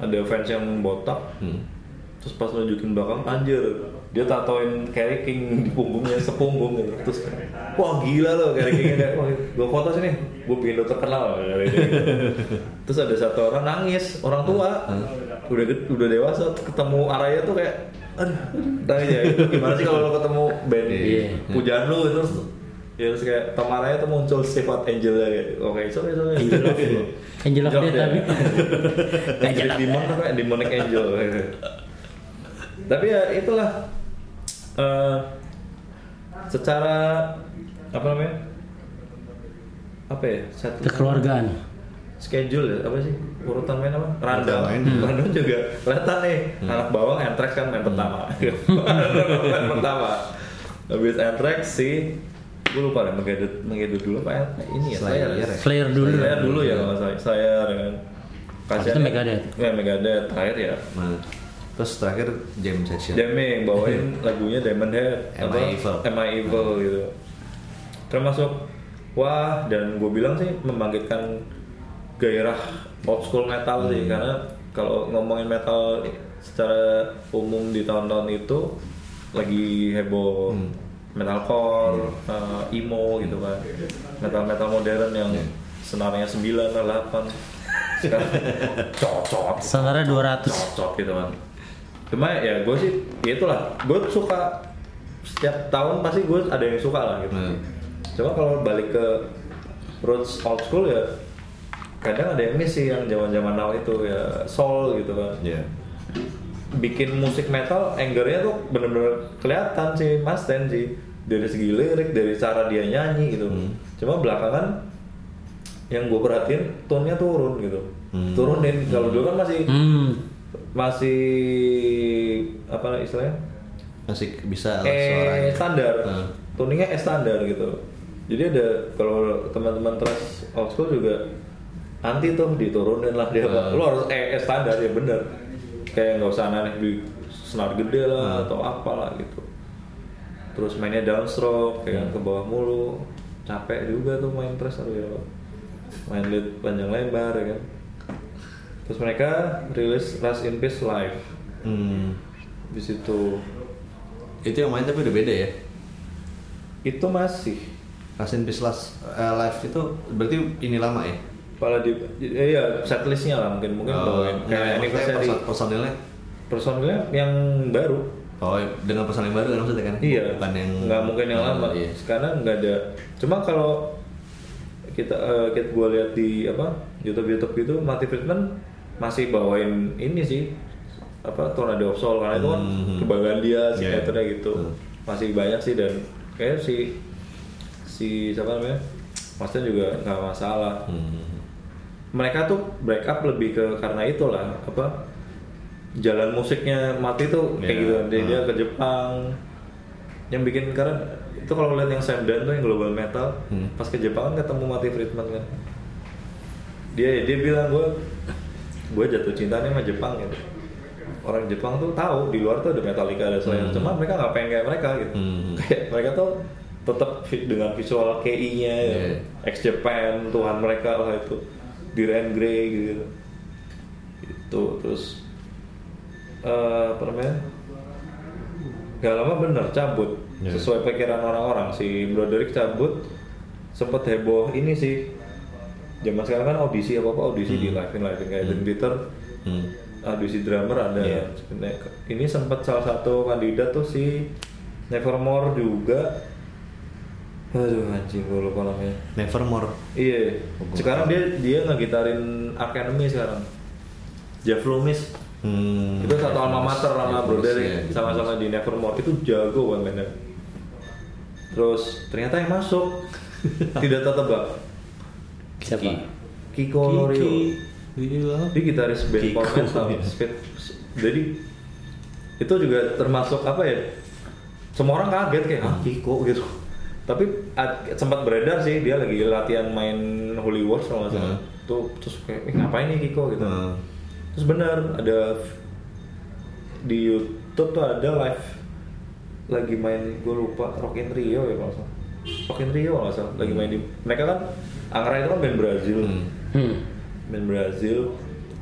ada fans yang botak
Hmm.
terus pas nunjukin belakang anjir dia tatoin Kerry King di punggungnya sepunggung gitu terus wah gila loh Kerry Kingnya kayak wah gue foto sini gue bikin lo terkenal [LAUGHS] Kayak gitu. terus ada satu orang nangis orang tua udah ged- udah dewasa ketemu Araya tuh kayak aduh nangis ya Itu gimana sih kalau lo ketemu band
Iya.
pujaan lu terus ya terus kayak temannya tuh muncul sifat angelnya kayak oke itu itu angel of
Angel of Death, tapi.
[LAUGHS] angel ya. demon apa ya? demonic angel gitu. tapi ya itulah eh secara apa namanya apa ya satu
Kekeluargaan.
schedule ya apa sih urutan main apa random
main.
Hmm.
random juga kelihatan nih anak bawang antrax kan main pertama
Hmm.
[LAUGHS] main pertama habis antrax si gue lupa deh mengedit mengedit dulu apa Anthrax? ini ya
Slayer
Slayer.
ya?
Slayer dulu.
Slayer dulu ya kalau saya saya kan
Habis itu Megadeth.
ya Megadeth terakhir ya
Nah, terus terakhir jam session.
Deming
[LAUGHS]
bawain lagunya Diamond Head
Am I Evil? Hmm.
Am I Evil gitu termasuk wah dan gue bilang sih membangkitkan gairah old school metal sih
Hmm.
karena kalau ngomongin metal secara umum di tahun-tahun itu lagi heboh
Hmm.
metalcore, eh, emo gitu kan
Hmm.
metal-metal modern yang senarnya 9 atau 8
[LAUGHS]
sekarang cocok
Sementara 200.
cocok gitu kan cuma ya gue sih ya itulah gue suka setiap tahun pasti gue ada yang suka lah gitu
Hmm.
cuma kalau balik ke roots old school ya kadang ada yang miss sih yang zaman zaman now itu ya soul gitu kan
Ya.
bikin musik metal angernya tuh bener-bener kelihatan sih Mas Ten sih dari segi lirik dari cara dia nyanyi gitu cuma belakangan yang gue perhatiin tone-nya turun gitu turunin kalau dulu kan masih
Hmm.
masih apa istilahnya
Masih bisa lah
eh
suaranya.
standar
Hmm.
tuningnya eh standar gitu jadi ada kalau teman-teman trans old school juga anti tuh diturunin lah dia
Hmm.
lo harus eh, eh, standar ya bener kayak nggak usah aneh di senar gede
Hmm.
lah atau apalah gitu terus mainnya downstroke kayak ke bawah mulu capek juga tuh main press aduh ya Allah. main lead panjang lebar ya kan terus mereka rilis Rust in Peace live
Hmm.
di situ
Itu yang main tapi udah beda ya.
itu masih
Rasin Pislas eh, live itu berarti ini lama ya?
kepala di eh, iya setlistnya lah mungkin mungkin
Eh,
bawain
nggak,
kayak
maksudnya
anniversary
perso- personilnya
personilnya yang baru
Oh, dengan personil yang baru kan maksudnya kan?
iya
Bukan yang
nggak mungkin yang
Oh,
lama
Iya.
sekarang nggak ada cuma kalau kita eh, kita gue lihat di apa YouTube YouTube gitu Mati Friedman masih bawain ini sih apa Tornado of Soul karena itu kan kebanggaan dia
Iya.
signaturenya gitu
Hmm.
masih banyak sih dan kayak si si siapa namanya Master juga nggak masalah
Hmm.
mereka tuh break up lebih ke karena itulah apa jalan musiknya mati tuh kayak
Iya.
gitu dia, dia
Hmm.
ke Jepang yang bikin karena itu kalau lihat yang Sam Dan tuh yang global metal
Hmm.
pas ke Jepang kan ketemu Mati Friedman kan dia dia bilang gue gue jatuh cinta nih sama Jepang gitu orang Jepang tuh tahu di luar tuh ada Metallica ada Slayer cuma mereka nggak pengen kayak mereka gitu
Hmm.
kayak mereka tuh tetap dengan visual KI-nya ya.
Iya.
ex Japan Tuhan mereka lah itu Dire and Grey gitu, gitu itu terus eh apa namanya gak lama bener cabut
Ya.
sesuai pikiran orang-orang si Broderick cabut sempet heboh ini sih zaman sekarang kan audisi apa apa audisi di live in live kayak Dan Peter
Hmm.
audisi Ah, drummer ada
Iya.
ini sempat salah satu kandidat tuh si Nevermore juga aduh anjing gue lupa namanya
Nevermore.
Iya. Sekarang dia dia ngegitarin Academy sekarang. Jeff Loomis.
Hmm.
Itu satu alma
Ya,
mater sama
terus,
brother
ya, gitu.
sama-sama di Nevermore. Itu jago banget mainnya. Terus ternyata yang [LAUGHS] masuk tidak tertebak.
Siapa?
Kiko Lorio.
Gila.
Dia gitaris band
Kiko,
Power Metal.
iya.
Speed- Jadi itu juga termasuk apa ya? Semua orang kaget kayak ah Kiko gitu. Tapi ad- sempat beredar sih dia lagi latihan main Holy Wars kalau nggak salah.
Hmm.
Tuh terus kayak "Eh, ngapain nih Kiko gitu.
Hmm.
Terus benar ada f- di YouTube tuh ada live lagi main gue lupa Rock in Rio ya kalau nggak salah. Rock in Rio kalau nggak salah lagi main di mereka kan Angra itu kan band Brazil
Hmm.
Hmm.
band Brazil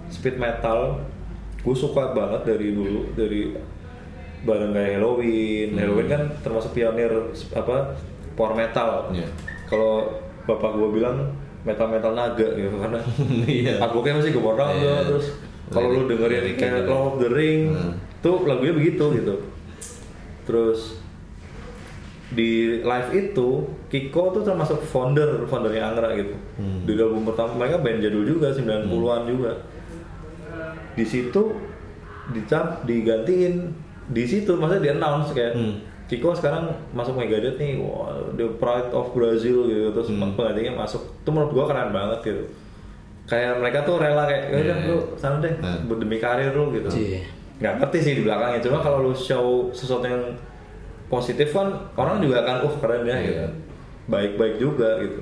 speed metal gue suka banget dari dulu dari barang kayak Halloween
Hmm.
Halloween kan termasuk pionir s- apa power metal
Iya.
kalau bapak gue bilang metal metal naga gitu karena
[LAUGHS] Iya.
advoknya masih gue banget
Iya.
terus kalau
Lirik-
lu dengerin
liriknya
kayak
juga.
Lord of the Ring
Hmm.
tuh lagunya begitu gitu terus di live itu Kiko tuh termasuk founder foundernya Angra gitu
Hmm.
di album pertama mereka band jadul juga 90-an juga di situ dicap digantiin di situ maksudnya di announce kayak
Hmm.
Kiko sekarang masuk Megadeth nih wah the pride of Brazil gitu terus
Hmm.
penggantinya masuk itu menurut gua keren banget gitu kayak mereka tuh rela kayak "Ya udah,
Yeah.
lu sana deh
Hmm.
demi karir lu gitu
Iya.
nggak ngerti sih di belakangnya cuma kalau lu show sesuatu yang positif kan orang juga akan uh keren ya gitu
Iya.
baik-baik juga gitu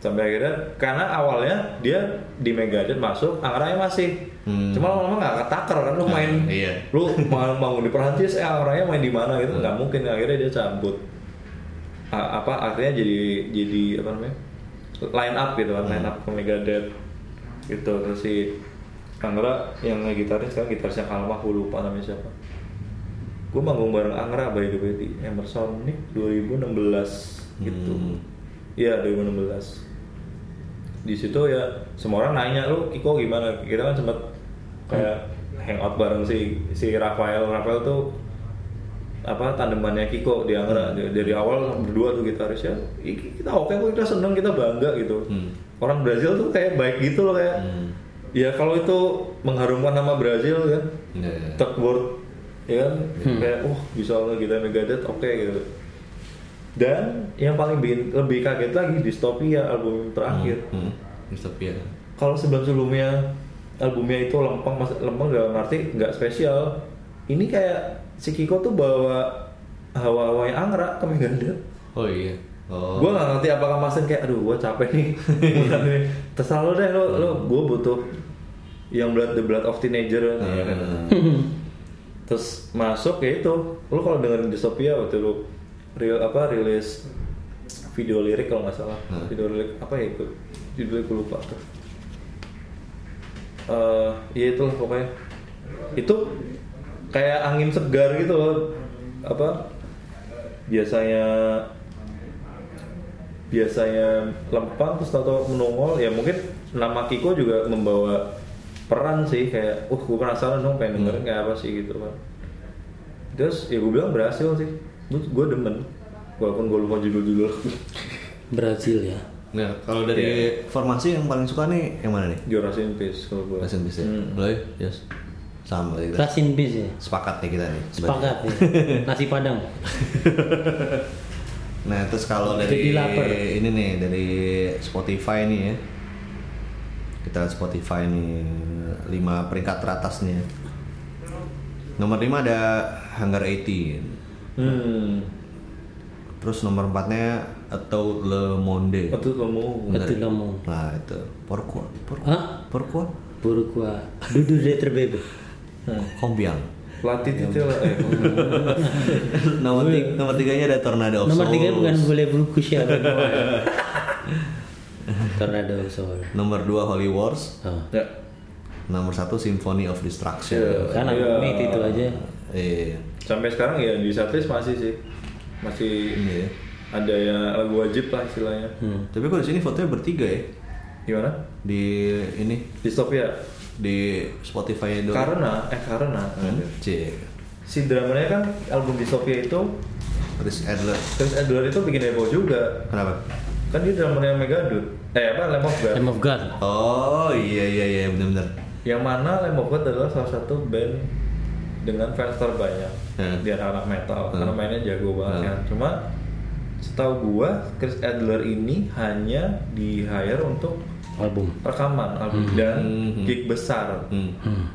sampai akhirnya karena awalnya dia di Megadeth masuk Angranya masih
Hmm.
cuma lama-lama nggak ketakar kan lu
Nah,
main
iya.
lu mau mau di Perancis eh Angranya main di mana gitu nggak mungkin akhirnya dia cabut A- apa akhirnya jadi jadi apa namanya line up gitu kan line up ke Megadeth gitu terus si Angra yang ngegitarin sekarang gitarisnya Kalmah gue lupa namanya siapa gue manggung bareng Angra by the way di Emerson Nick 2016 gitu
Hmm.
iya 2016 di situ ya semua orang nanya lu Iko gimana kita kan sempet kayak hangout bareng si si Rafael Rafael tuh apa tandemannya Kiko di Angra
Hmm.
Dari- dari awal berdua tuh gitaris ya "Iki- kita oke kok kita seneng kita bangga gitu
Hmm.
orang Brazil tuh kayak baik gitu loh kayak
Hmm.
ya kalau itu mengharumkan nama Brazil kan
Iya, iya. Hmm.
third world ya kan kayak wah bisa lo kita Megadeth oke gitu dan yang paling bikin lebih kaget lagi distopia album terakhir
Hmm. Mr. Pia.
kalau sebelum sebelumnya albumnya itu lempeng mas lempeng gak ngerti nggak spesial ini kayak si Kiko tuh bawa hawa-hawa yang anggra ke Megadeth
Oh iya. Oh.
Gue gak ngerti apakah Masen kayak aduh gue capek nih Udah nih. Terserah lo deh lo, lo gue butuh yang blood the blood of teenager nih, ya kan.
Hmm.
[LAUGHS] Terus masuk ya itu lo kalau dengerin dystopia waktu lo real apa rilis video lirik kalau nggak salah
Hmm.
video lirik apa ya itu judulnya gue lupa tuh Eh, ya itulah pokoknya itu kayak angin segar gitu loh apa biasanya biasanya lempang terus atau menongol ya mungkin nama Kiko juga membawa peran sih kayak uh gue penasaran dong pengen dengerin kayak apa sih gitu kan terus ya gue bilang berhasil sih gue gue demen walaupun gue lupa judul-judul [LAUGHS]
Brazil ya.
Nah, kalau dari
Iya.
formasi yang paling suka nih yang mana nih?
juara Simpis kalau gue
Bahasa Inggris ya.
Hmm.
Lo ya? Yes. Sama kita.
Rasin bis ya.
Sepakat nih kita nih. sebenarnya.
Sepakat ya. Nasi Padang.
Nah, terus kalau
Jadi
dari
lapar.
ini nih dari Spotify nih ya. Kita lihat Spotify nih lima peringkat teratas nih. ya. Nomor 5 ada Hunger 18.
hmm
Terus nomor 4-nya Atau Le Monde.
itu kamu
Betul kamu.
Nah, itu Porco. Porco.
Hah?
Porco.
Buruk gua. Dudu de terbebe. Hmm.
Kombiang.
pelatih
Ya
itu lah eh
nomor, tiga, nomor tiganya ada Tornado of
Nomor tiga
Souls.
bukan boleh bungkus ya. Tornado Soul.
Nomor 2 Holy Wars,
Oh.
[LAUGHS] Ya.
nomor 1 Symphony of Destruction.
Kan aku
Iya.
ini itu aja.
Iya.
Sampai sekarang ya di setlist masih sih. Masih
Iya.
ada ya lagu wajib lah istilahnya.
Hmm.
Tapi kok di sini fotonya bertiga ya?
Gimana?
Di ini
Dystopia.
di Spotify doang.
Karena eh karena
Hmm, Cek.
si dramanya kan album Dystopia itu
Chris Adler.
Chris Adler itu bikin demo juga.
Kenapa?
Kan dia drummernya Megadeth. Eh apa Lamb of God.
Lamb of God.
Oh iya iya iya benar-benar.
Yang mana Lamb of God adalah salah satu band dengan fans terbanyak
Hmm.
di anak-anak metal
Hmm.
karena mainnya jago banget
Hmm.
kan. Cuma setahu gua Chris Adler ini hanya di hire untuk
Album.
rekaman album dan
Hmm.
gig besar.
Hmm.
Hmm.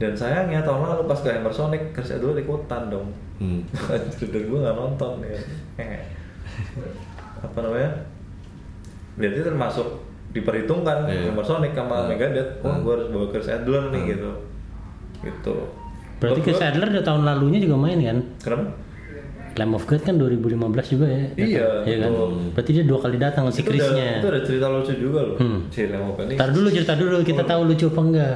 Dan sayangnya tahun lalu pas ke Hammer Sonic Chris Adler ikutan dong.
Hmm.
Anjir, dan gue nggak nonton ya. Eh. apa namanya? Berarti termasuk diperhitungkan
Iya.
Hammer Sonic
Hmm.
sama Megadeth. Wah, gue harus bawa Chris Adler nih gitu. Gitu.
Berarti
Menurut
Chris
gua-
Adler udah tahun lalunya juga main kan?
Kenapa?
Lamb of God kan 2015 juga ya. datang.
Iya,
Iya kan?
betul.
Berarti dia dua kali datang si
Itu ada,
Chrisnya.
itu ada cerita lucu juga loh.
Hmm.
Si Lamb of God ini.
Ntar dulu cerita dulu kita tahu lucu apa enggak.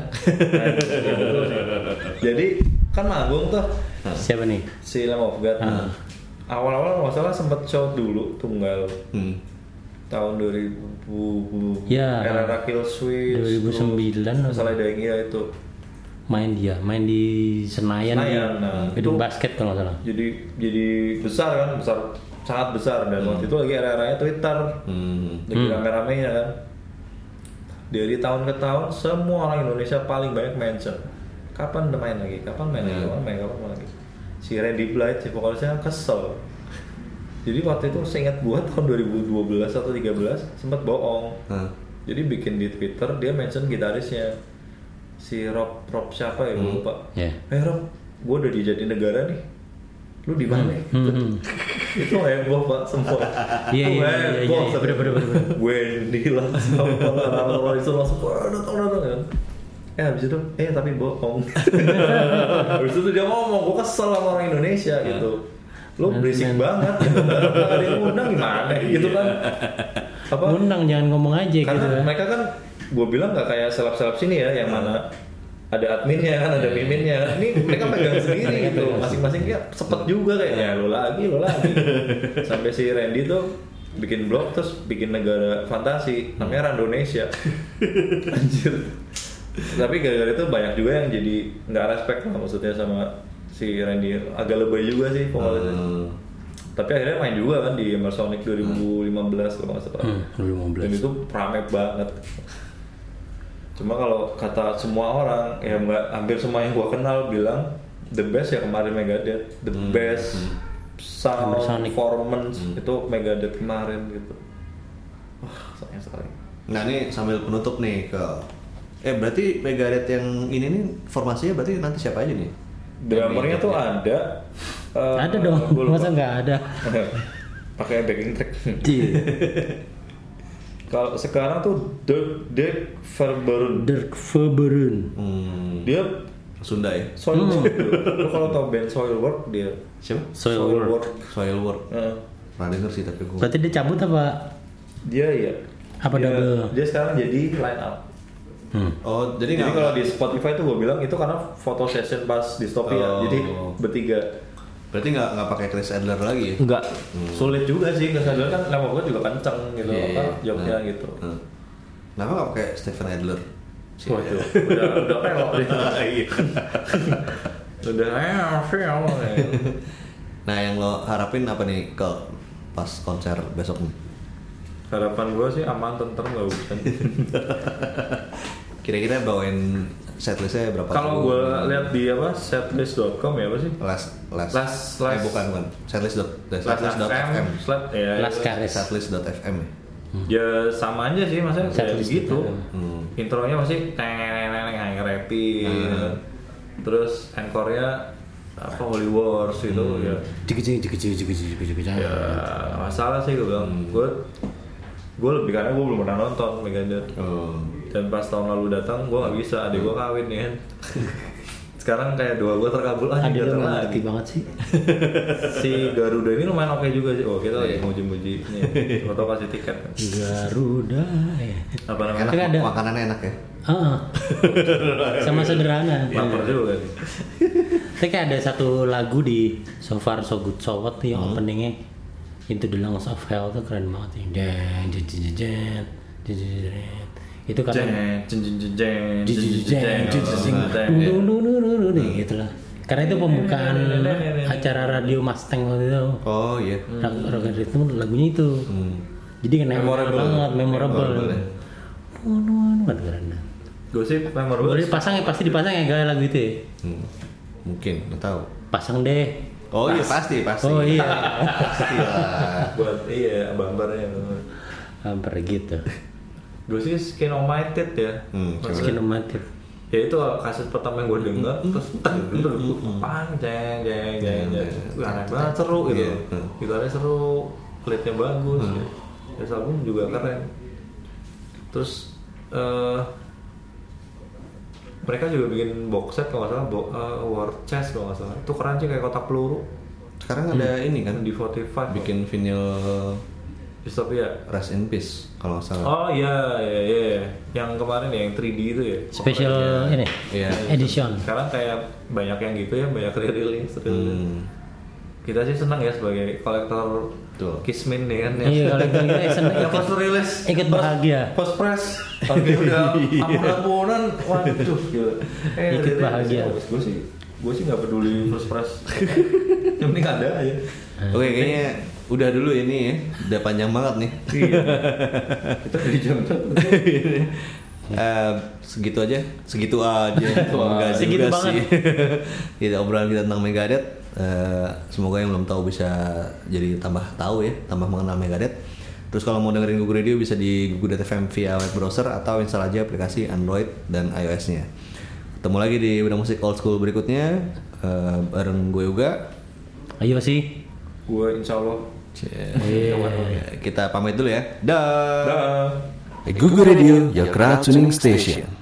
Jadi kan manggung tuh
Siapa nih?
si Lamb of God.
Ah.
Awal-awal nggak salah sempet show dulu tunggal.
Hmm.
tahun 2000
Ya.
era era Kill Switch
2009 atau-
masalah Dying Iya itu
Main dia, main di Senayan.
Senayan,
di
nah.
Gedung
Itu-
basket kalau nggak salah.
jadi jadi besar kan besar sangat besar dan waktu itu lagi era-eranya Twitter
Hmm.
lagi rame-ramenya kan dari tahun ke tahun semua orang Indonesia paling banyak mention kapan main lagi kapan main lagi kapan main kapan main lagi si Randy Blythe si vokalisnya kesel jadi waktu itu seingat gua tahun 2012 atau 13 sempat bohong
Hah.
Jadi bikin di Twitter dia mention gitarisnya si Rob Rob siapa ya gua lupa.
Ya.
Eh Rob, gue udah dijadi negara nih. Lu di mana?
Hmm, hmm.
[LAUGHS] itu heboh pak semua.
Iya,
Itu
iya, iya, iya,
heboh,
iya,
semua.
bener, bener, bener.
Wendy langsung apa langsung langsung wah datang datang kan. Eh habis itu eh tapi
[LAUGHS]
bohong. habis itu dia ngomong gue kesel sama orang Indonesia
Ah.
gitu. Lu
Man,
berisik
man.
banget, gitu. Nggak ada yang undang gimana gitu
[LAUGHS]
kan? Apa?
Undang jangan ngomong aja
karena
gitu.
mereka kan gue bilang nggak kayak seleb-seleb sini ya yang mana ada adminnya kan ada miminnya ini mereka pegang sendiri gitu masing-masing dia sepet juga kayaknya lo lagi lo lagi sampai si Randy tuh bikin blog terus bikin negara fantasi namanya Randonesia anjir tapi gara-gara itu banyak juga yang jadi nggak respect lah maksudnya sama si Randy agak lebay juga sih vokalisnya
Hmm.
tapi akhirnya main juga kan di Emersonic 2015 kalau nggak salah
Hmm, 2015.
dan itu rame banget cuma kalau kata semua orang ya nggak hampir semua yang gua kenal bilang the best ya kemarin Megadeth the
Hmm,
best sound
Emersonic.
performance
Hmm.
itu Megadeth kemarin gitu wah sayang sekali
Nah ini sambil penutup nih ke Eh berarti Megadeth yang ini nih formasinya berarti nanti siapa aja nih? ya.
drummernya tuh ada eh,
ya. ada dong,
gua lupa.
masa nggak ada?
[LAUGHS] pakai backing track
Di-
kalau sekarang tuh Dirk Dirk Verburen
Dirk Verbeeren.
Hmm,
dia
Sunda ya?
Hmm.
Soilwork [LAUGHS] lu kalau tau band Soilwork dia
Siapa?
Soilwork.
Soilwork.
Heeh.
Pernah denger sih tapi gue.
Berarti dia cabut apa?
dia ya
Apa
dia,
double?
dia sekarang jadi line up
Hmm.
Oh jadi
jadi
nggak
kalau di Spotify tuh gue bilang itu karena foto session pas dystopia
Oh.
jadi bertiga
berarti nggak nggak pakai Chris Adler lagi ya?
enggak sulit juga sih kesadaran kan lama gue juga kenceng gitu
Iya,
apa
iya.
jobnya
Nah.
gitu
Hmm. Kenapa nggak pakai Stephen Adler? Si-
Waduh, udah udah pelok deh.
[LAUGHS] Iya.
udah eh,
Nah yang lo harapin apa nih ke pas konser besok nih?
Harapan gue sih aman, tentrem, gak
[LAUGHS]
hujan.
Kira-kira bawain setlistnya berapa?
Kalau
lagu?
gue lihat di apa setlist.com ya apa sih?
Last, last,
Last,
eh,
last-
bukan bukan setlist dot eh, setlist dot fm
FM, Slap, ya,
Las Cares.
setlist dot fm ya?
Ya sama aja sih maksudnya kayak
Setlist
begitu.
juga.
Hmm.
Intronya masih neneng hang rapi. Terus encore-nya apa Holy Wars gitu ya.
Cik cik cik cik cik cik cik
Ya nggak masalah sih gue bilang. Gue gue lebih karena gue belum pernah nonton Megadeth.
Oh.
Dan pas tahun lalu datang gue nggak bisa, adik gue kawin ya kan. sekarang kayak doa gue terkabul ah
Ada
ini
lu
datang
nggak
lagi
ngerti banget sih.
si Garuda ini lumayan oke juga sih oh kita lagi muji-muji ini foto kasih tiket
Garuda. ya.
apa namanya
Enak,
Kan ada-
makanannya enak ya.
[LAUGHS] Ah, ah. sama sederhana.
lapar juga sih
Tapi kayak ada satu lagu di So Far So Good So What tuh yang openingnya Into the Lungs of Hell tuh keren banget yang dan jen, jen, jen, jen, jen, jen, jen. itu
jeng
karena
jeng jeng jeng jeng
Jen, jen, jen,
jeng,
jen, jen, jeng.
jeng,
Dung, dung,
jeng.
dung, dung, dung, dung, gitu lah karena itu pembukaan acara radio Mustang waktu itu
Oh iya.
Rock- Rock and Rhythm lagunya itu jadi kena Hmm. memorable banget memorable ya. Wanu, wanu, kan keren
gosip memorable
boleh pasang ya pasti dipasang ya gaya lagu itu ya
Hmm. Mungkin, nggak tahu.
pasang deh
Oh iya pasti pasti.
oh iya
[LAUGHS] pasti lah.
buat iya bambarnya
hampir gitu
gosip skinomated ya
Hmm, coba.
Skinomatif.
ya itu kasus pertama yang gue denger terus teng terus panjang jeng jeng jeng Wih, aneh banget seru gitu
Iya, Mm. hmm.
gitarnya seru klipnya bagus ya. ya album juga keren terus eh mereka juga bikin box set kalau nggak salah bo- eh, war chest kalau nggak salah itu keren sih kayak kotak peluru
Sekarang ada
Hmm.
ini kan
di Spotify
bikin vinyl
distopia
Rest in Peace kalau nggak salah.
oh iya iya iya yang kemarin ya yang 3D itu ya
Special ini.
Iya.
Edition.
sekarang kayak banyak yang gitu ya banyak rilis rilis
Hmm.
kita sih senang ya sebagai kolektor
Betul.
kismin nih kan ya.
Iya, kalau kita seneng
Ya
ikut,
pas rilis,
ikut
pas-
bahagia.
Pas press, tapi [LAUGHS] udah ampun-ampunan, waduh gila. Eh,
Ikut
rilis.
bahagia.
Gue sih, gue sih nggak peduli first press. [LAUGHS] Yang penting ada aja.
Oke kayaknya udah dulu ini ya. Udah panjang banget nih.
Kita di jam satu.
[LAUGHS] Eh, segitu aja, segitu aja.
[LAUGHS]
Enggak
Segitu
juga
banget.
sih. Gitu, obrolan [LAUGHS] kita tentang Megadeth. Eh, semoga yang belum tahu bisa jadi tambah tahu ya, tambah mengenal Megadeth. Terus kalau mau dengerin Google Radio bisa di Google FM via web browser atau install aja aplikasi Android dan iOS-nya. Ketemu lagi di Bidang Musik Old School berikutnya eh, bareng gue juga.
Ayo sih.
Gue insya Allah.
Oh, iya,
Kita pamit dulu ya. Dah.
Dah.
Google Radio, your crowd tuning station.